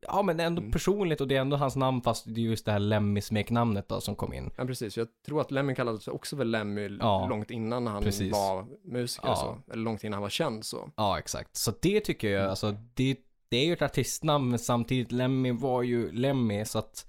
ja men
Mm.
ändå personligt och det är ändå hans namn fast det är just det här Lemmy-smeknamnet då som kom in.
Ja, precis. Jag tror att Lemmy kallades också för Lemmy l-
Ja,
långt innan han
precis.
var musiker
Ja.
och så. Eller långt innan han var känd så.
Ja, exakt. Så det tycker
Mm.
jag, alltså det, det är ju ett artistnamn men samtidigt Lemmy var ju Lemmy så att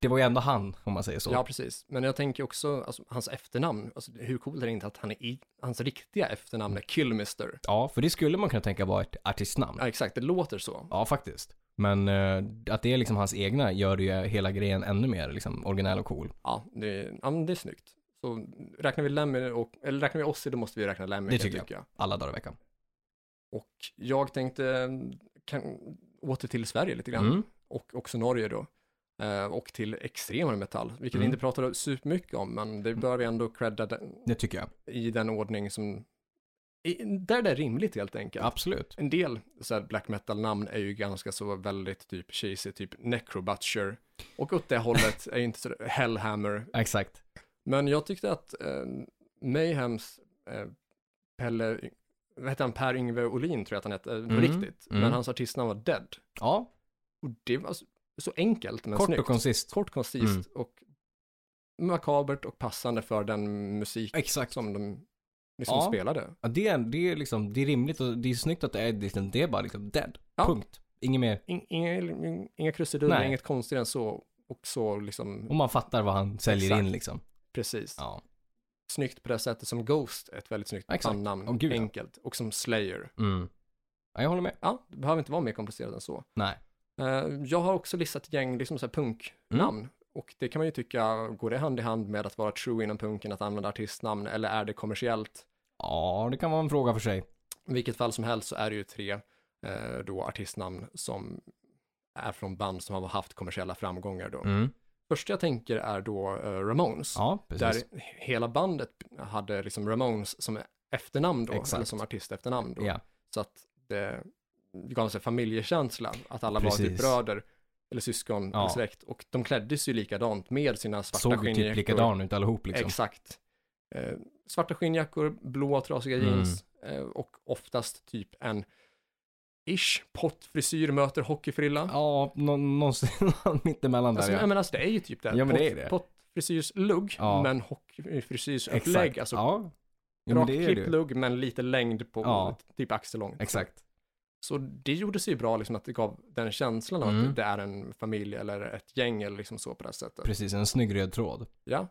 det var ju ändå han om man säger så.
Ja, precis. Men jag tänker också, alltså, hans efternamn, alltså, hur coolt är det inte att han är i, hans riktiga efternamn är Killmister?
Ja, för det skulle man kunna tänka vara ett artistnamn.
Ja, exakt, det låter så.
Ja, faktiskt. Men eh, att det är liksom hans egna gör ju hela grejen ännu mer liksom originell och cool.
Ja, det, ja, men det är snyggt. Så räknar vi Lemmy och, eller räknar vi Ozzy, då måste vi räkna Lemmy.
Det
kan
tycker
tycka.
Alla dagar i veckan.
Och jag tänkte, kan, åter till Sverige lite grann,
Mm.
och också Norge då. Eh, Och till extremare metall, vilket vi
Mm.
inte pratade supermycket om, men det bör vi ändå credda den-
Det tycker jag.
i den ordning som, i, där det är rimligt helt enkelt.
Absolut.
En del så här black metal-namn är ju ganska så väldigt typ cheesy, typ Necrobutcher. Och åt det hållet är ju inte så Hellhammer.
Exakt.
Men jag tyckte att eh, Mayhems eh, Pelle, vad heter han, Per Yngve Olin tror jag att han hette, eh, på
Mm,
riktigt.
mm.
Men hans artistnamn var Dead.
Ja,
Och det var så, så enkelt men
kort
snyggt.
och koncist.
Kort, koncist
Mm.
och makabert och passande för den musik
Exakt.
som de liksom
Ja.
spelade.
Ja, det, är, det, är liksom, det är rimligt och det är snyggt att det är, liksom, det är bara liksom dead.
Ja.
Punkt. Inget mer.
In, inga, inga krusiduller,
Nej.
inget konstigt än så. Och så liksom
Och man fattar vad han säljer
Exakt.
in liksom.
Precis.
Ja.
Snyggt på det sättet som Ghost, är ett väldigt snyggt
Exakt.
bandnamn.
Åh, gud, ja.
enkelt. Och som Slayer.
Mm. ja. Jag håller med.
Ja, det behöver inte vara mer komplicerat än så.
Nej.
Eh, jag har också listat ett gäng liksom så här punknamn. Och det kan man ju tycka, går det hand i hand med att vara true inom punken, att använda artistnamn, eller är det kommersiellt?
Ja, det kan vara en fråga för sig.
I vilket fall som helst så är det ju tre eh, då artistnamn som är från band som har haft kommersiella framgångar då. Första jag tänker är då eh, Ramones.
Mm. Ja, precis.
där hela bandet hade liksom Ramones som efternamn då,
Exakt.
eller som artistefternamn då.
Ja.
Så att det gav en sån här familjekänsla, att alla var typ
Precis.
bröder eller syskon
Ja.
eller släkt. Och de kläddes ju likadant med sina svarta
Såg ju
skinnjackor.
typ likadan ut allihop liksom.
Exakt. Eh, svarta skinnjackor, blåa trasiga
Mm.
jeans eh, och oftast typ en ish pottfrisyr möter hockeyfrilla.
Ja, nå- någonstans mittemellan där
Alltså,
ja.
men alltså det är ju typ det.
Ja, men det
Pott-
är det.
Pottfrisyrslugg,
Ja.
men hockeyfrisyrsupplägg. Alltså
ja. Jo, men det är
Rakklippt
det.
lugg men lite längd på
Ja.
typ axellångt.
Exakt.
Så det gjorde sig ju bra liksom att det gav den känslan av
Mm.
att det är en familj eller ett gäng eller liksom så på det här sättet.
Precis, en snygg röd tråd.
Ja.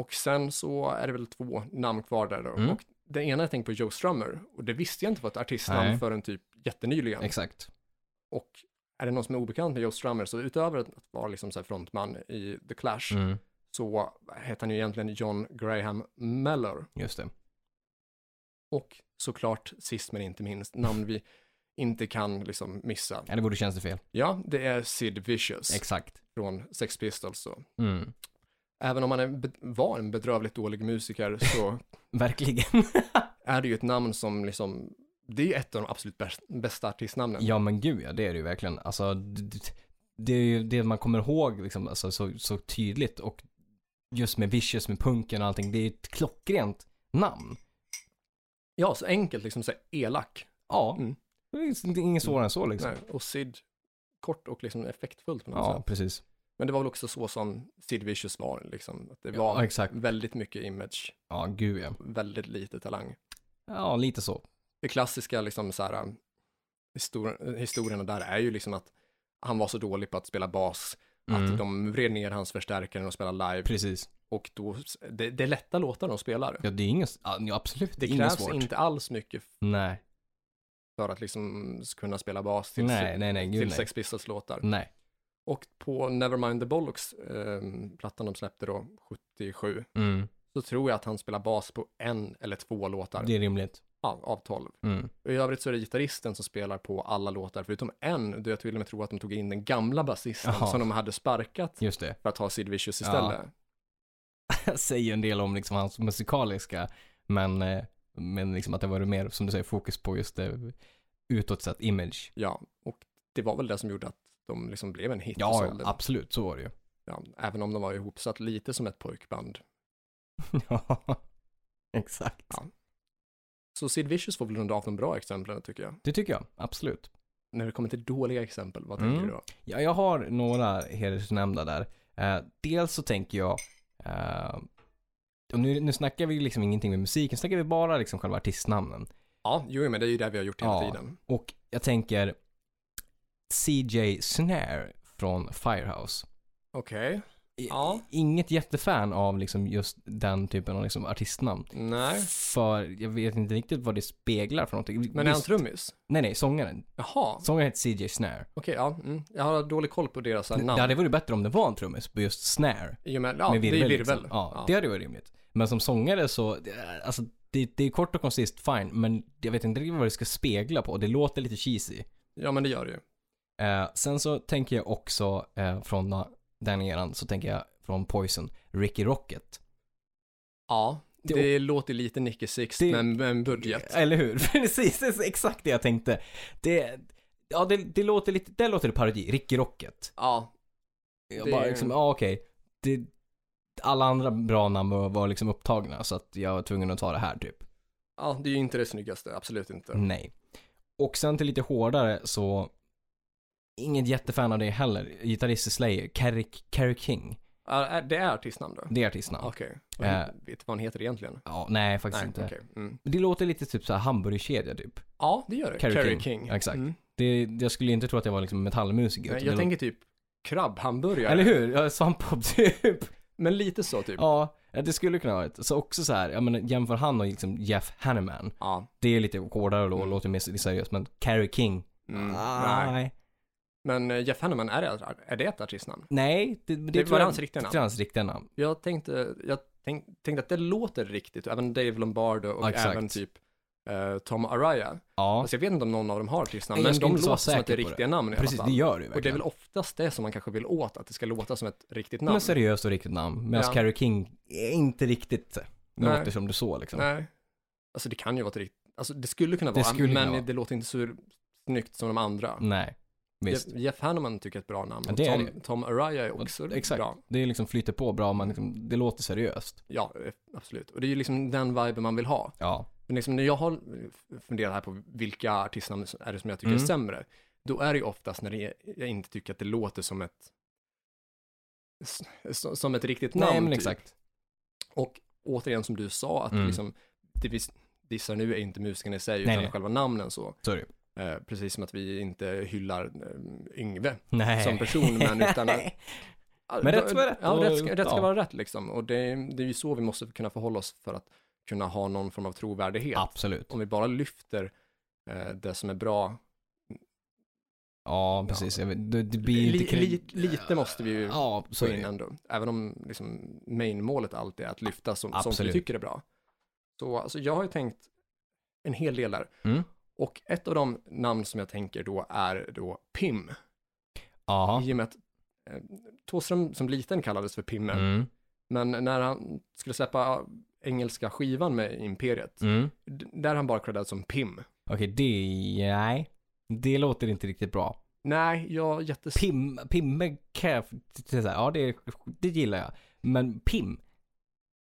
Och sen så är det väl två namn kvar där då.
Mm.
Och det ena jag tänkte på är Joe Strummer och det visste jag inte var ett artistnamn
Nej.
förrän typ jättenyligen.
Exakt.
och är det någon som är obekant med Joe Strummer så utöver att att vara liksom så här frontman i The Clash
Mm.
så heter han ju egentligen John Graham Mellor.
Just det.
Och såklart, sist men inte minst, namn vi inte kan liksom missa.
Ja, det vore känns det fel.
Ja, det är Sid Vicious
Exakt.
från Sex Pistols. Då.
Mm.
Även om han är, be- var en bedrövligt dålig musiker så
Verkligen.
är det ju ett namn som liksom, det är ju ett av de absolut bäst, bästa artistnamnen.
ja, men gud ja, det är det ju verkligen. Alltså, d- d- det är ju det man kommer ihåg liksom, alltså, så, så tydligt och just med Vicious, med punken och allting, det är ju ett klockrent namn.
Ja, så enkelt liksom, så här elak.
Ja.
Mm.
Det är inte- inget svårare än så liksom.
Nej, och Sid, kort och liksom effektfullt på något
Ja,
sätt.
precis.
Men det var väl också så som Sid Vicious var, liksom. Att det var
Ja, exakt.
väldigt mycket image,
Ja, gud ja.
väldigt lite talang.
Ja, lite så.
det klassiska liksom så här, histor- historierna där är ju liksom att han var så dålig på att spela bas
Mm.
att de vred ner hans förstärkare och spelade live
Precis.
och då, det, det är lätta låtar de spelar.
Ja, det är inget, ja, ja, absolut
Det
inget
krävs
svårt.
inte alls mycket
Nej,
för att liksom kunna spela bas till,
nej, nej, nej, Mm. gud
till
nej.
Sex Pistols låtar.
Nej.
Och på Nevermind the Bollocks, eh, plattan de släppte då, 77,
Mm.
så tror jag att han spelar bas på en eller två låtar
Det är rimligt.
av, av tolv.
Mm.
Och I övrigt så är det gitarristen som spelar på alla låtar, förutom en, då jag till och med tror att de tog in den gamla basisten
Jaha.
som de hade sparkat
Just det.
för att ha Sid Vicious istället.
säger ju en del om liksom hans musikaliska, men, eh, men liksom att det var mer, som du säger, fokus på just det utåt sett image.
Ja, och det var väl det som gjorde att de liksom blev en hit och
Ja,
sålde.
absolut, så var det ju.
ja, Även om de var ihopsatt lite som ett pojkband.
ja, exakt.
Ja. Så Sid Vicious får väl runda av de bra exemplen tycker jag.
Det tycker jag, absolut.
När det kommer till dåliga exempel, vad tänker
Mm.
du då?
Ja, jag har några hedersnämnda där. Eh, dels så tänker jag, eh, och nu, nu snackar vi liksom ingenting med musiken, snackar vi bara liksom själva artistnamnen.
Ja, jo, men det är ju det vi har gjort hela
Ja.
tiden.
Och jag tänker CJ Snare från Firehouse.
Okej,
I-
Ja.
Inget jättefan av liksom just den typen av liksom artistnamn.
nej.
För jag vet inte riktigt vad det speglar för någonting.
Men är han
Visst-
trummis?
Nej, nej, sångaren.
Jaha, okej,
Sångaren heter CJ Snare.
ja. Mm. Jag har dålig koll på deras här,
Det
namn.
hade varit bättre om det var en trummis, på just Snare.
I och med, ja,
med virvel.
det är virvel.
liksom. Ja, det hade varit rimligt. Men som sångare så, det- alltså det, det är kort och koncist, fine, men jag vet inte riktigt vad det ska spegla på. Det låter lite cheesy.
ja, men det gör det ju.
Eh, sen så tänker jag också eh, från na- den eran, så tänker jag från Poison, Ricky Rocket.
Ja, det,
Det-
låter lite Nicky Six,
Det-
men med en budget.
Eller hur? Precis, det är exakt det jag tänkte. Det, ja, det, det låter lite, där låter det parodi, Ricky Rocket.
Ja,
Jag
Det-
bara liksom, ja okej. Det- Alla andra bra namn var, var liksom upptagna så att jag var tvungen att ta det här typ.
ja, det är ju inte det snyggaste, absolut inte.
Nej. Och sen till lite hårdare så, inget jättefan av det heller. Gitarrist i Slayer, Kerry, Kerry King.
Ja, är- det är artistnamn då?
Det är artistnamn.
Okej. Och
Eh.
Vet du vad han heter egentligen?
Ja, nej faktiskt
Nej,
inte.
okej. Mm.
Det låter lite typ såhär hamburgerkedja typ.
Ja, det gör det.
Kerry
Kerry King.
King. Ja, exakt.
Mm.
Det, jag skulle inte tro att jag var liksom metallmusiker.
Nej,
utan
Jag
det
tänker typ krabbhamburgare.
låter- Eller hur? Ja, Svampbob typ.
Men lite så typ. Ja.
Ja, det skulle kunna vara ett. Så också så här, jag menar jämför han och liksom Jeff Hanneman. Det är lite hårdare och
Mm.
låter mer seriöst men Carrie King.
Mm.
Ah,
Nej.
nej.
Men eh, Jeff Hanneman, är det, är det ett artistnamn?
Nej, det, det,
Det
tror
var
jag-
hans riktiga namn.
Det är hans riktiga namn.
Jag tänkte, jag tänk, tänkte att det låter riktigt, även Dave Lombardo och
Ja, exakt.
även typ eh, Tom Araya.
Ja,
Alltså jag vet inte om någon av dem har artistnamn,
Nej, jag
men
skulle
de
inte vara
låter som att det är
säker på
riktiga namn i
precis.
alla
Det
fall.
gör det ju
och det är
verkligen.
väl oftast det som man kanske vill åt, att det ska låta som ett riktigt namn.
Men seriöst och riktigt namn. Medan
Ja.
Carrie King är inte riktigt eh,
Nej.
låter som du så liksom.
Nej. Alltså det kan ju vara ett riktigt, alltså det skulle kunna
Det
vara,
skulle
men
kunna vara.
det låter inte så snyggt som de andra.
Nej, visst.
Jeff, Jeff Hanneman tycker jag är ett bra namn.
Ja, det är
Tom, Tom Araya är också
Exakt.
bra.
Det liksom flyter på bra, men liksom, det låter seriöst.
Ja, eh, absolut. Och det är ju liksom den viben man vill ha.
Ja.
Men liksom när jag har eh, funderat här på vilka artistnamn som- är det som jag tycker är
Mm.
sämre, då är det ju oftast när det är, jag inte tycker att det låter som ett s- s- som ett riktigt namn.
Nej, men
typ.
exakt.
Och återigen som du sa, att
Mm.
liksom, det vi s- dissar nu är inte musiken i sig,
Nej,
utan
nej.
själva namnen så.
Sorry.
Eh, precis som att vi inte hyllar eh, Yngve
Nej.
som person, men utan att Ja,
Men
då-
rätt ska vara rätt
Ja,
och-
rätt ska, rätt ska
ja.
vara rätt liksom. Och det, är- det är ju så vi måste kunna förhålla oss för att kunna ha någon form av trovärdighet.
Absolut.
Om vi bara lyfter eh, det som är bra.
Ja, precis. Jag vet, det, det blir
Li-
lite...
li- lite måste vi ju
Ja, så
få
är
in
det.
ändå. Även om liksom, mainmålet alltid är att lyfta som, sånt vi
Absolut.
tycker är bra. Så alltså, jag har ju tänkt en hel del där.
Mm.
Och ett av de namn som jag tänker då är då Pim.
Ja.
I och med att eh, Thåström som liten kallades för Pimme.
Mm.
Men när han skulle släppa engelska skivan med Imperiet,
Mm.
d- där är han bara creddad som Pim.
Okej, det... Nej. Det låter inte riktigt bra.
Nej, jag är jättes...
Pim, pimme kan jag... det är så här, Ja, det, det gillar jag. Men Pim,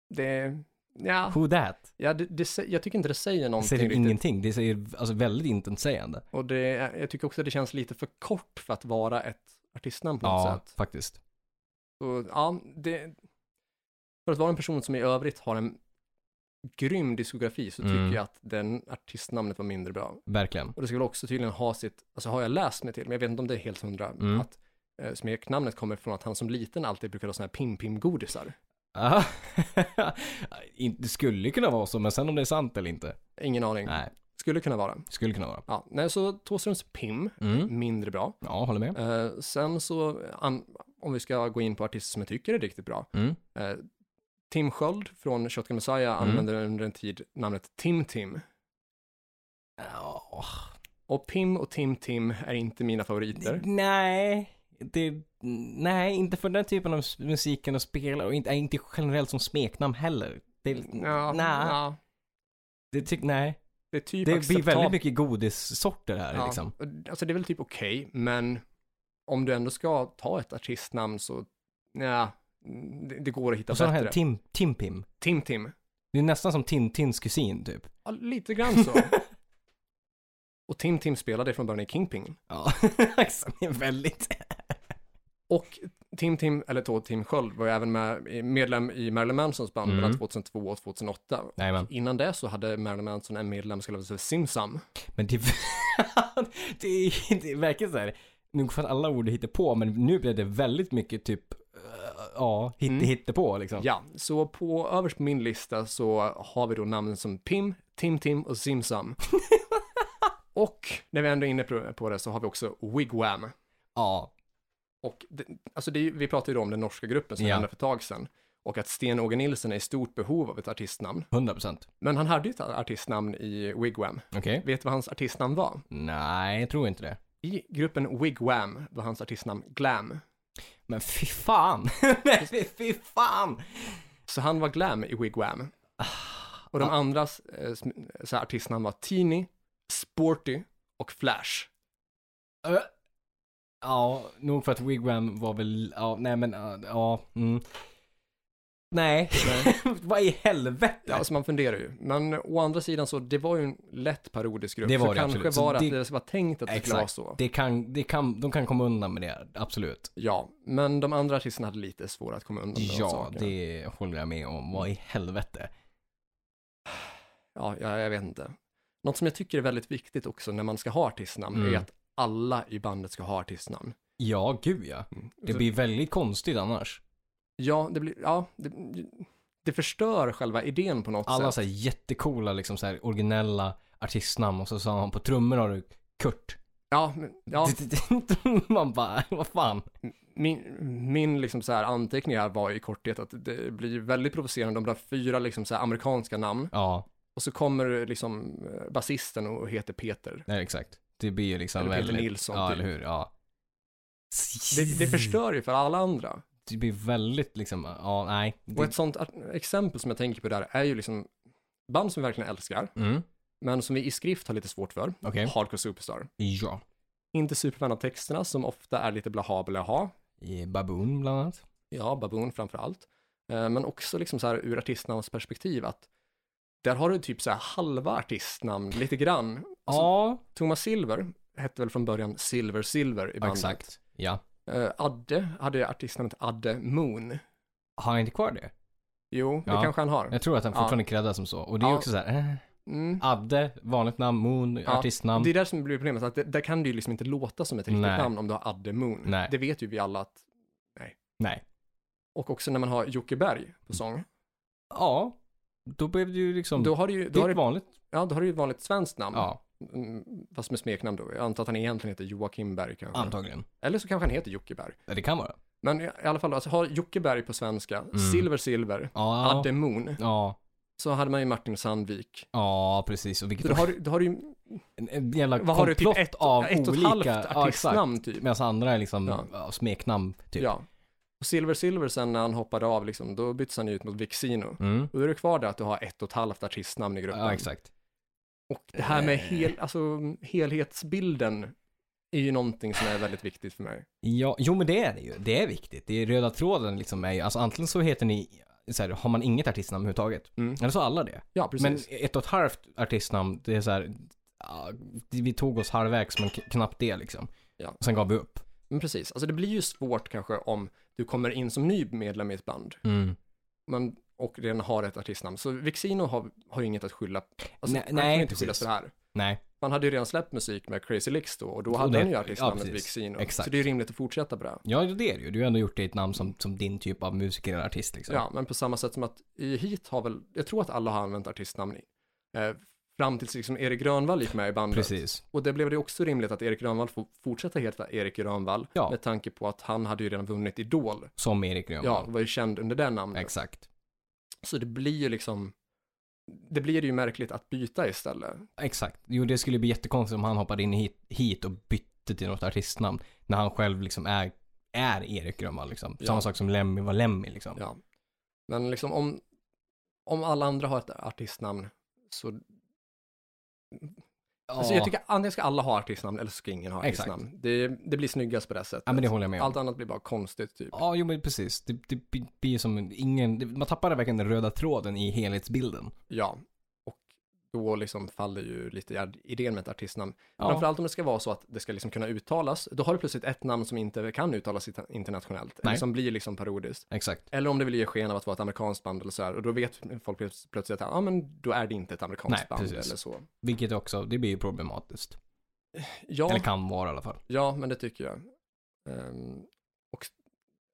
Det... Ja,
who that?
ja det, det, sä- jag tycker inte det säger
Det
någonting
säger
riktigt.
ingenting. Det säger alltså väldigt intetsägande.
Och det, jag tycker också att det känns lite för kort för att vara ett artistnamn på något
Ja,
sätt.
faktiskt.
Så, ja, det... För att vara en person som i övrigt har en grym diskografi så
Mm.
tycker jag att den artistnamnet var mindre bra.
Verkligen.
Och det ska väl också tydligen ha sitt, alltså har jag läst mig till, men jag vet inte om det är helt hundra,
Mm.
att eh, smeknamnet kommer från att han som liten alltid brukade ha sådana här pim-pim-godisar.
Aha. In- det skulle kunna vara så, men sen om det är sant eller inte.
Ingen aning.
Nej,
Skulle kunna vara.
skulle kunna vara.
Ja, nej, så Thåströms pim,
Mm.
mindre bra.
Ja, håller med.
Eh, sen så, an, om vi ska gå in på artister som jag tycker är riktigt bra.
Mm.
Eh, Tim Sköld från Shotgun Messiah
Mm.
använde under en tid namnet Tim Tim.
Ja.
Och Pim och Tim Tim är inte mina favoriter.
Nej, det, nej, inte för den typen av s- musiken och spelar och inte, äh, inte generellt som smeknamn heller. Det,
Ja,
nej,
ja,
det tyck, nej.
det är typ
Det blir
acceptabelt.
väldigt mycket godissorter här
Ja,
liksom.
och- Alltså det är väl typ okej, men om du ändå ska ta ett artistnamn så, nja, det, det går att hitta
Och så här
bättre.
Tim, Timpim.
Tim Tim.
Det är nästan som Tintins kusin typ.
Ja, lite grann så. Och Tim Tim spelade från början i Kingpin.
Ja, Axel är väldigt...
Och Tim Tim, eller då Tim Sköld, var ju även med, eh, medlem i Marilyn Mansons band
Mm.
mellan 2002 och 2008.
Jajamän.
Innan det så hade Marilyn Manson en medlem som kallades för Simsam.
Men
typ-
det, det, är- det verkar så här. Nu för att alla ord hittar på men nu blev det väldigt mycket typ, eh, ja, hit,
Mm.
hittepå liksom.
Ja, så på överst på min lista så har vi då namnen som Pim, Tim Tim och Simsam. och när vi ändå är inne på- på det så har vi också Wigwam.
Ja.
Och det, alltså det, är ju- vi pratade ju då om den norska gruppen som
Ja.
hände för ett tag sedan. Och att Sten-Åge Nilsson är i stort behov av ett artistnamn.
100%.
Men han hade ju ett artistnamn i Wigwam.
Okej.
Vet du vad hans artistnamn var?
Nej, jag tror inte det.
I gruppen Wigwam var hans artistnamn Glam.
Men fy fan! Men fy, fy fan!
Så han var Glam i Wigwam.
Ah.
Och de andras eh, sm- så här, artistnamn var Teeny, Sporty och Flash.
Ö. Ja, nog för att Wigwam var väl, ja, nej men, ja, ja mm. Nej, vad i helvete?
Ja, alltså man funderar ju. Men å andra sidan så, det var ju en lätt parodisk grupp.
Det var
så
det
kanske
absolut. Så
var det att
det-
det var tänkt att det skulle vara
Exakt.
så.
Det kan, det kan, de kan komma undan med det, absolut.
Ja, men de andra artisterna hade lite svårare att komma undan med de
Ja,
sakerna.
det håller jag med om.
Mm.
Vad i helvete?
Ja, jag, jag vet inte. Något som jag tycker är väldigt viktigt också när man ska ha artistnamn
Mm.
är att alla i bandet ska ha artistnamn.
Ja, gud ja. Det blir väldigt konstigt annars.
Ja, det blir, ja, det, det förstör själva idén på något
Alla
sätt.
så här jättecoola, liksom så här originella artistnamn och så sa han på trummor har du Kurt.
Ja, men- ja
Man bara, "Äh, vad fan.
min, min liksom så här anteckning här var i korthet att det blir väldigt provocerande om det har fyra liksom så här amerikanska namn
Ja,
och så kommer liksom eh, basisten och heter Peter.
nej, exakt. Det blir ju liksom
Eller Peter
väldigt...
Nilsson,
Ja,
typ.
eller hur. Ja.
Det, det förstör ju för alla andra.
Det blir väldigt liksom, ja, nej.
Och
Det,
ett sånt ar- exempel som jag tänker på där är ju liksom band som vi verkligen älskar,
mm,
men som vi i skrift har lite svårt för.
Okej.
Hardcore Superstar.
ja.
Inte superfan av texterna som ofta är lite blaha blaha.
I Baboon bland annat.
Ja, Baboon framför allt. Eh, Men också liksom så här ur artistnamns perspektiv att där har du typ så här halva artistnamn, lite grann. Alltså,
ja,
Thomas Silver hette väl från början Silver Silver i bandet.
exakt. Ja.
Eh, Adde hade artistnamnet Adde Moon.
Har han inte kvar det?
Jo, det
Ja.
kanske han har.
Jag tror att han
Ja.
fortfarande creddas som så. Och det är
Ja.
också så här, eh,
Mm.
Adde, vanligt namn, Moon,
Ja,
artistnamn.
Det är där som blir problemet, att det, där kan det ju liksom inte låta som ett riktigt
Nej.
namn om du har Adde Moon.
Nej.
Det vet ju vi alla att,
Nej.
och också när man har Jocke Berg på sång,
Mm. Ja, då blev det ju liksom,
då har du ju,
det
då
är
har
ett
du,
vanligt.
ja, då har du ju ett vanligt svenskt namn,
Ja,
Mm, fast med smeknamn då. Jag antar att han egentligen heter Joakim Berg kanske.
antagligen.
Eller så kanske han heter Jocke Berg.
Ja, Det kan vara.
Men i alla fall, alltså, har Jocke Berg på svenska, Silver Silver,
Mm. Ja,
Adde Moon,
ja,
så hade man ju Martin Sandvik.
ja precis. Och vilket
Så då har, du- då har du ju,
en, en jävla
vad har du, typ
komplott
ett,
av
ett och ett
olika.
halvt artistnamn typ.
Medan andra är liksom
Ja.
ja. smeknamn typ.
Ja. Och Silver Silver sen när han hoppade av, liksom, då byttes han ju ut mot Vixino.
Mm.
Och då är det kvar där att du har ett och ett halvt artistnamn i gruppen.
ja exakt.
Och det här med
Eh.
hel, alltså, helhetsbilden är ju någonting som är väldigt viktigt för mig.
Ja, jo men det är det ju. Det är viktigt. Det är röda tråden liksom är ju, alltså antingen så heter ni, så här, har man inget artistnamn överhuvudtaget.
Mm.
Eller så har alla det.
Ja, precis.
Men ett och ett halvt artistnamn, det är så här, ja, vi tog oss halvvägs men k- knappt det liksom.
Ja.
Och Sen gav vi upp.
Men precis, alltså det blir ju svårt kanske om du kommer in som ny medlem i ett band men, och redan har ett artistnamn. Så Vixino har, har ju inget att skylla, alltså,
Nej,
han
nej,
kan ju inte
precis.
skyllas för det här.
Nej,
Man hade ju redan släppt musik med Crazy Licks då och då
Och
hade
det-
han ju
ja,
artistnamnet
precis.
Vixino.
Exakt.
Så det är ju rimligt att fortsätta på det.
ja det är det ju. Du har ändå gjort det i ett namn som, som din typ av musiker eller artist liksom.
Ja, men på samma sätt som att i hit har väl, jag tror att alla har använt artistnamn i, eh, fram tills liksom Erik Grönvall gick med i bandet.
Precis.
Och det blev det också rimligt att Erik Grönvall får fortsätta heta Erik Grönvall
Ja.
med tanke på att han hade ju redan vunnit Idol.
Som Erik
Ja,
Grönvall.
var ju känd under det namnet.
Exakt.
Så det blir ju liksom, det blir ju märkligt att byta istället.
Exakt. Jo det skulle bli jättekonstigt om han hoppade in hit, hit och bytte till något artistnamn. När han själv liksom är, är Erik Grönvall liksom.
Ja.
Samma sak som Lemmy var Lemmy liksom.
Ja. Men liksom om, om alla andra har ett artistnamn så, alltså jag tycker antingen ska alla ha artistnamn eller så ska ingen ha
Exakt.
artistnamn. Det, det blir snyggast på det sättet.
Ja men det håller jag med om.
Allt annat blir bara konstigt typ.
Ja, jo men precis. Det, det blir- blir som en- ingen, det, man tappar verkligen den röda tråden i helhetsbilden.
Ja, och då liksom faller ju lite i ad- idén med ett artistnamn.
Ja.
Framförallt om det ska vara så att det ska liksom kunna uttalas, då har du plötsligt ett namn som inte kan uttalas ita- internationellt, eller
Nej.
som blir liksom parodiskt.
Exakt.
Eller om det vill ge sken av att vara ett amerikanskt band eller så här, och då vet folk plöts- plötsligt att ja, men då är det inte ett amerikanskt
Nej,
band
precis.
eller så.
Vilket också, det blir ju problematiskt.
Ja,
Eller kan vara i alla fall.
ja, men det tycker jag. Ehm, och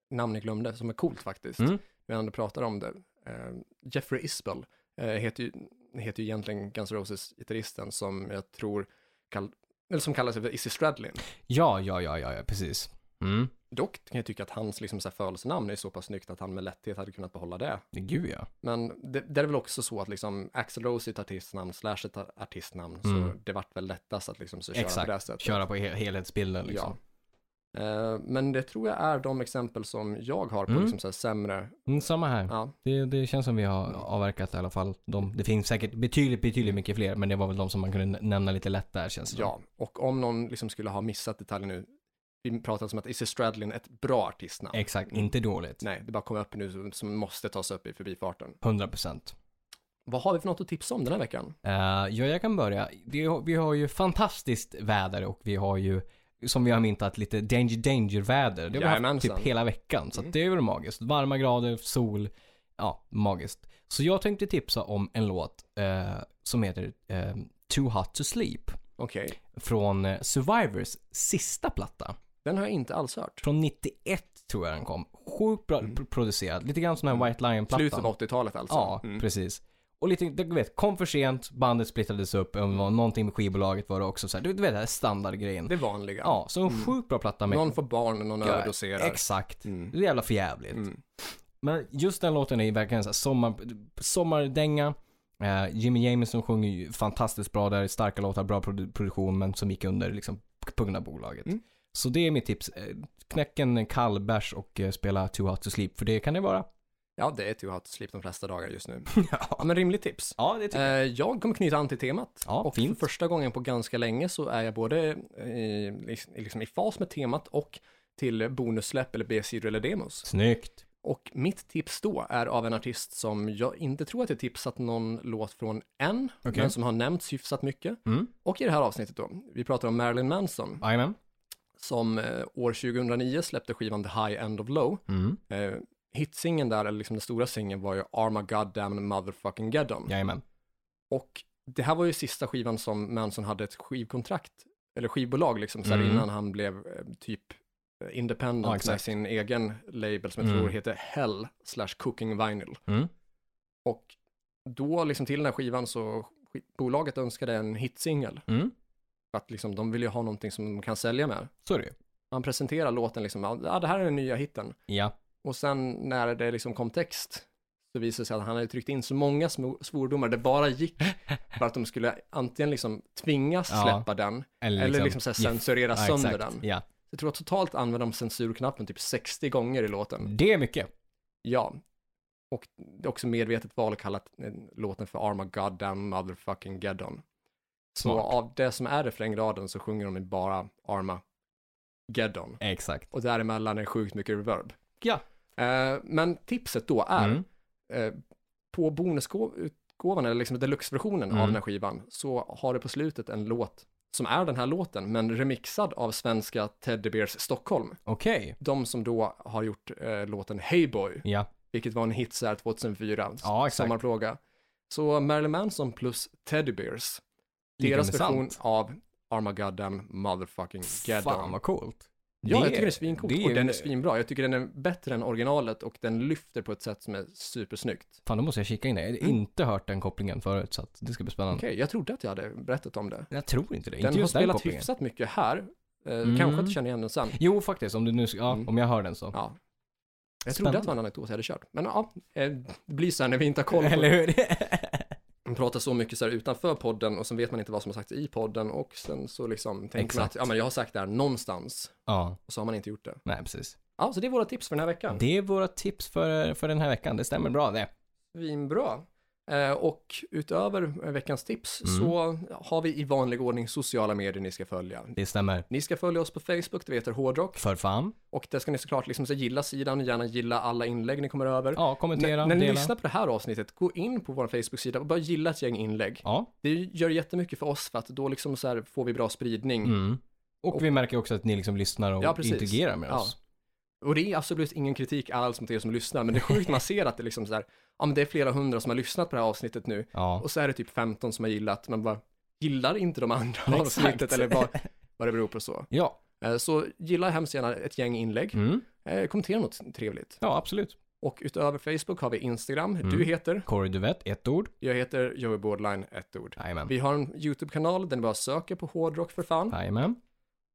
namn jag glömde, som är coolt faktiskt.
Mm.
vi ändå pratar om det. Eh, Jeffrey Isbell eh, heter, ju, heter ju egentligen Guns N' Roses-gitarristen som jag tror kall, eller som kallar sig för Izzy Stradlin.
Ja, ja, ja, ja, ja, precis. Mm.
Dock kan jag tycka att hans liksom, så här, födelsenamn är så pass snyggt att han med lätthet hade kunnat behålla det.
Gud ja.
Men det, det är väl också så att liksom, Axl Rose är ett artistnamn, Slash är ett ar- artistnamn, så
Mm.
det vart väl lättast att liksom, så köra
Exakt.
på det sättet.
Köra på he- helhetsbilden liksom.
Ja. Eh, Men det tror jag är de exempel som jag har på
Mm.
liksom, så här, sämre,
Mm, samma här.
ja,
Det, det känns som vi har avverkat i alla fall. De, det finns säkert betydligt, betydligt mycket fler, men det var väl de som man kunde n- nämna lite lätt där känns det som.
Ja, och om någon liksom skulle ha missat detaljen nu, vi pratade om att Izzy Stradlin är ett bra artistnamn.
Exakt, inte dåligt.
Nej, det bara kommer upp nu som- som måste tas upp i förbifarten.
100 procent.
Vad har vi för något att tipsa om den här veckan?
Eh, ja, jag kan börja. Det, vi har ju fantastiskt väder och vi har ju, som vi har myntat, lite danger danger-väder. Det har vi haft
Jajamensan.
typ hela veckan, så
Mm.
att det är väl magiskt. Varma grader, sol, ja, magiskt. Så jag tänkte tipsa om en låt eh, som heter eh, Too Hot To Sleep
Okej,
från eh, Survivors sista platta.
den har jag inte alls hört.
Från 91 tror jag den kom. Sjukt bra
Mm.
pro- producerad. Lite grann som den här White
Slutet
Lion-plattan.
av 80-talet alltså?
Ja,
Mm.
precis. Och lite, du vet, kom för sent, bandet splittrades upp, mm. var någonting med skivbolaget var det också så här, du vet den här standardgrejen.
Det vanliga.
Ja, så en sjukt bra platta med...
Någon får barn och någon
Ja,
överdoserar.
Exakt.
Mm.
Det är jävla förjävligt.
Mm.
Men just den låten är ju verkligen så här sommar, sommardänga. Eh, Jimmy Jamison sjunger ju fantastiskt bra där, starka låtar, bra produ- produktion, men som gick under liksom på grund av bolaget.
Mm.
Så det är mitt tips. Eh, Knäck en kall bärs och eh, spela Too Hot To Sleep, för det kan det vara.
Ja, det är too hot to sleep de flesta dagar just nu. Ja,
ja.
men rimligt tips.
det tycker
Eh,
jag.
Jag kommer knyta an till temat.
Ja,
och
fint.
för första gången på ganska länge så är jag både eh, i, liksom i fas med temat och till bonussläpp eller B-sidor eller demos.
Snyggt.
Och mitt tips då är av en artist som jag inte tror att jag tipsat någon låt från än,
Okej.
men som har nämnts hyfsat mycket.
Mm.
Och i det här avsnittet då, vi pratar om Marilyn Manson,
Jajamän.
som eh, år 2009 släppte skivan The High End of Low.
Mm.
Eh, hitsingen där, eller liksom den stora singeln var ju Arma Goddamn Motherfucking Geddon.
Jajamän.
Och det här var ju sista skivan som Manson hade ett skivkontrakt, eller skivbolag liksom, så här
Mm.
innan han blev eh, typ eh,
Ja,
independent med
exakt.
sin egen label som jag
Mm.
tror heter Hell slash Cooking Vinyl.
Mm.
Och då liksom till den här skivan så sk- bolaget önskade en hitsingel
Mm.
för att liksom de vill ju ha någonting som de kan sälja med.
Så är det ju.
Han presenterar låten liksom, ja det här är den nya hitten.
Ja.
Och sen när det liksom kom text så visade det sig att han hade tryckt in så många smo- svordomar det bara gick för att de skulle antingen liksom tvingas
Ja.
släppa den eller liksom så här censurera
ja,
sönder
exakt.
den.
Ja.
Jag tror att totalt använde de censurknappen typ 60 gånger i låten.
Det är mycket.
Ja. Och det är också medvetet val att kalla eh, låten för Arma Goddamn Motherfucking Geddon. Så
Smart.
av det som är refrängraden så sjunger de ju bara Arma Geddon.
Exakt.
Och däremellan är sjukt mycket reverb.
Ja.
Eh, men tipset då är
Mm.
eh, på bonusutgåvan, eller liksom deluxe-versionen av
Mm.
den här skivan, så har det på slutet en låt som är den här låten, men remixad av svenska Teddy Bears Stockholm.
Okej.
De som då har gjort eh, låten Hey Boy,
Ja.
vilket var en hit så här 2004,
Ja, exakt.
sommarplåga. Så Marilyn Manson plus Teddy Bears,
Lika
deras
intressant.
version av Armageddon motherfucking
Fan
Geddon.
vad coolt.
Ja, jag tycker det är svincoolt
det
och den är svinbra. Jag tycker den är bättre än originalet och den lyfter på ett sätt som är supersnyggt.
Fan, då måste jag kika in det. Jag har
Mm.
inte hört den kopplingen förut, så att det ska bli spännande.
Okej, jag trodde att jag hade berättat om det.
Jag tror inte det.
Den
inte
har
just
spelat
kopplingen.
hyfsat mycket här. Eh,
Mm.
Kanske att du känner igen den sen.
Jo, faktiskt. Om du nu, ja,
Mm.
om jag hör den så.
Ja. Jag
Spännande.
trodde att det var en anekdot jag hade kört. Men ja, eh, det blir så här när vi inte har koll
Eller
på
hur?
Man pratar så mycket så här utanför podden och sen vet man inte vad som har sagts i podden och sen så liksom tänker man att
Exakt.
ja, men jag har sagt det här någonstans
ja,
och så har man inte gjort det.
nej precis.
Ja, så det är våra tips för den här veckan.
Det är våra tips för, för den här veckan. Det stämmer bra det.
Svinbra. Eh, Och utöver veckans tips
Mm.
så har vi i vanlig ordning sociala medier ni ska följa.
Det stämmer.
Ni ska följa oss på Facebook, det heter Hårdrock.
För fan.
Och där ska ni såklart liksom så gilla sidan, gärna gilla alla inlägg ni kommer över.
Ja, kommentera,
N- när ni
dela.
lyssnar på det här avsnittet, gå in på vår Facebook-sida och bara gilla ett gäng inlägg.
Ja.
Det gör jättemycket för oss för att då liksom så här får vi bra spridning.
Mm. Och, vi märker också att ni liksom lyssnar och
Ja, precis.
interagerar med
Ja.
oss.
Och det är absolut ingen kritik alls mot er som lyssnar, men det är sjukt man ser att det är liksom så här, ja men det är flera hundra som har lyssnat på det här avsnittet nu.
Ja.
Och så är det typ 15 som har gillat, men bara gillar inte de andra
Exakt.
avsnittet eller vad, vad det beror på så.
Ja.
Eh, Så gilla hemskt gärna ett gäng inlägg.
Mm.
Eh, Kommentera något trevligt.
ja, absolut.
Och utöver Facebook har vi Instagram.
Mm.
Du heter,
Corey Duvett, ett ord.
jag heter Joey Bordline, ett ord.
Jajamän.
Vi har en YouTube-kanal där ni bara söker på hårdrock för fan.
Jajamän.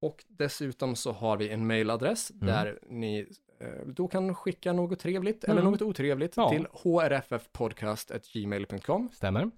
Och dessutom så har vi en mailadress
Mm.
där ni eh, då kan skicka något trevligt eller
Mm.
något otrevligt
Ja.
till hrffpodcast.gmail.com.
Stämmer.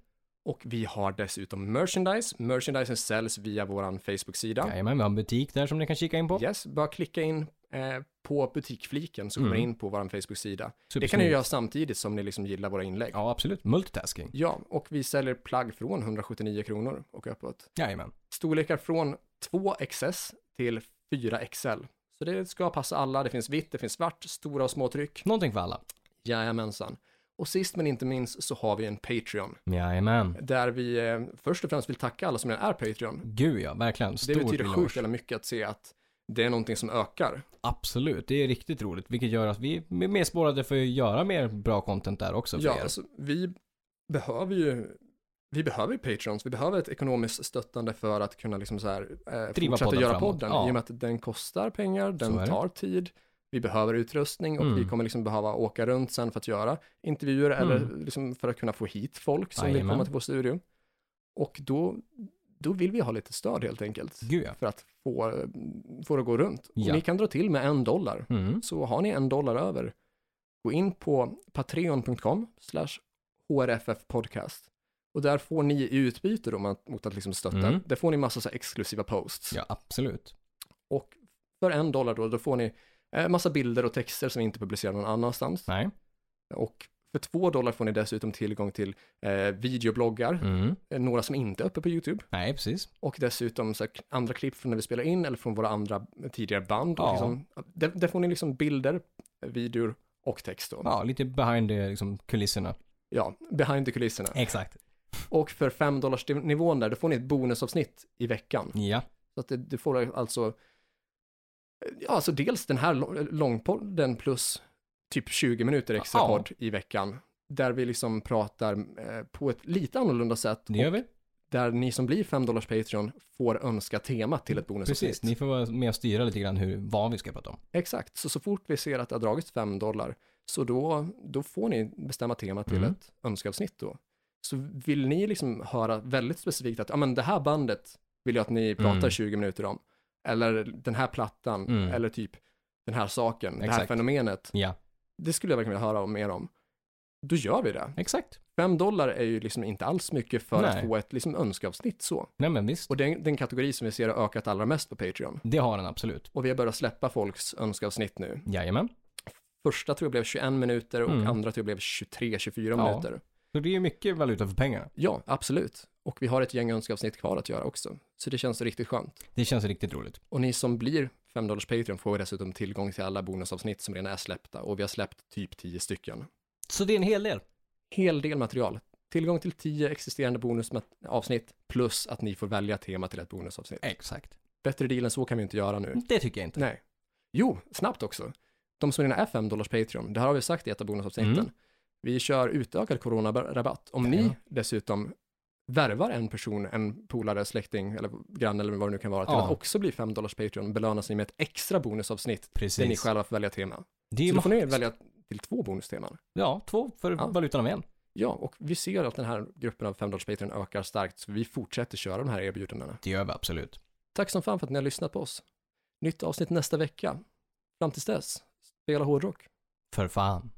Och vi har dessutom merchandise. Merchandisen säljs via vår Facebook-sida.
Jajamän, vi har en butik där som ni kan kika in på.
Yes, bara klicka in eh, på butikfliken så kommer
Mm.
ni in på vår Facebook-sida. Det kan ni
Supersnyggt.
göra samtidigt som ni liksom gillar våra inlägg.
Ja, absolut. Multitasking.
Ja, och vi säljer plagg från 179 kronor och uppåt.
Jajamän.
Storlekar från 2XS till 4XL. Så det ska passa alla. Det finns vitt, det finns svart, stora och små tryck.
Någonting för alla.
Jajamensan. Och sist men inte minst så har vi en Patreon.
Jajamän.
Där vi eh, först och främst vill tacka alla som redan är Patreon.
Gud ja, verkligen.
Det
Stor
betyder
eloge.
sjukt jävla mycket att se att det är någonting som ökar.
Absolut, det är riktigt roligt. Vilket gör att vi är mer spårade för att göra mer bra content där också för
Ja,
er.
alltså, vi behöver ju vi behöver ju Patreons, vi behöver ett ekonomiskt stöttande för att kunna liksom så här, eh, fortsätta
podden
göra
framåt,
podden.
ja.
I och med att den kostar pengar,
Så är
den
det.
tar tid, vi behöver utrustning och
Mm.
vi kommer liksom behöva åka runt sen för att göra intervjuer eller liksom för att kunna få hit folk som vill
Jajamän.
komma till vår studio. Och då, då vill vi ha lite stöd helt enkelt
Gud ja.
för att få, få det att gå runt.
Ja.
Och ni kan dra till med en dollar
Mm.
så har ni en dollar över, gå in på patreon.com slash hrffpodcast och där får ni i utbyte då man- mot att liksom stötta,
Mm.
där får ni massa så här exklusiva posts.
Ja, absolut.
Och för en dollar då, då får ni eh, massa bilder och texter som vi inte publicerar någon annanstans.
Nej.
Och för två dollar får ni dessutom tillgång till eh, videobloggar,
Mm.
eh, några som inte är uppe på YouTube.
Nej, precis.
Och dessutom så här, andra klipp från när vi spelar in eller från våra andra eh, tidigare band.
Ja.
Och liksom, där, där får ni liksom bilder, videor och text då.
Ja, lite behind the, liksom, kulisserna.
Ja, behind the kulisserna.
Exakt.
Och för 5 dollars nivån där, då får ni ett bonusavsnitt i veckan.
Ja.
Så att det, du får alltså, ja alltså dels den här lång- långpodden plus typ 20 minuter extra
Ja.
podd i veckan. Där vi liksom pratar eh, på ett lite annorlunda sätt.
Det gör vi.
Där ni som blir 5 dollars Patreon får önska tema till ett bonusavsnitt.
Precis. Ni får vara med och styra lite grann hur, vad vi ska prata om.
Exakt, så så fort vi ser att det har dragits 5 dollar, så då, då får ni bestämma tema till
Mm.
ett önskeavsnitt då. Så vill ni liksom höra väldigt specifikt att, ja men det här bandet vill jag att ni pratar
Mm.
20 minuter om, eller den här plattan,
Mm.
eller typ den här saken, det här
Exakt.
fenomenet,
Ja,
det skulle jag verkligen vilja höra om mer om. Då gör vi det.
exakt.
5 dollar är ju liksom inte alls mycket för att
Nej.
få ett liksom önskeavsnitt så.
Nej men visst.
Och den, den kategori som vi ser har ökat allra mest på Patreon.
Det har den absolut.
Och vi har börjat släppa folks önskeavsnitt nu.
Jajamän.
Första tror jag blev 21 minuter och
Mm.
andra tror jag blev 23-24
Ja.
minuter.
Så det är ju mycket valuta för pengarna.
Ja, absolut. Och vi har ett gäng önskeavsnitt kvar att göra också. Så det känns riktigt skönt.
Det känns riktigt roligt.
Och ni som blir 5 dollars Patreon får dessutom tillgång till alla bonusavsnitt som redan är släppta och vi har släppt typ 10 stycken.
Så det är en hel del.
Hel del material. Tillgång till 10 existerande bonusavsnitt plus att ni får välja tema till ett bonusavsnitt.
Exakt.
Bättre deal än så kan vi inte göra nu.
Det tycker jag inte.
Nej. Jo, snabbt också. De som redan är 5 dollars Patreon, det här har vi sagt i ett av bonusavsnitten.
Mm.
Vi kör utökad coronarabatt. Om
Ja.
ni dessutom värvar en person, en polare, släkting eller granne eller vad det nu kan vara, till
Ja.
att också bli 5 dollars Patreon belönas ni med ett extra bonusavsnitt där ni
Precis.
själva får välja tema.
Det är
Så
ju
då får ni
magiskt.
välja till två bonusteman.
Ja, två för
Ja.
valutan av en.
Ja, och vi ser att den här gruppen av 5 dollars Patreon ökar starkt, så vi fortsätter köra de här erbjudandena.
Det gör vi absolut.
Tack som fan för att ni har lyssnat på oss. Nytt avsnitt nästa vecka. Fram tills dess, spela hårdrock.
För fan.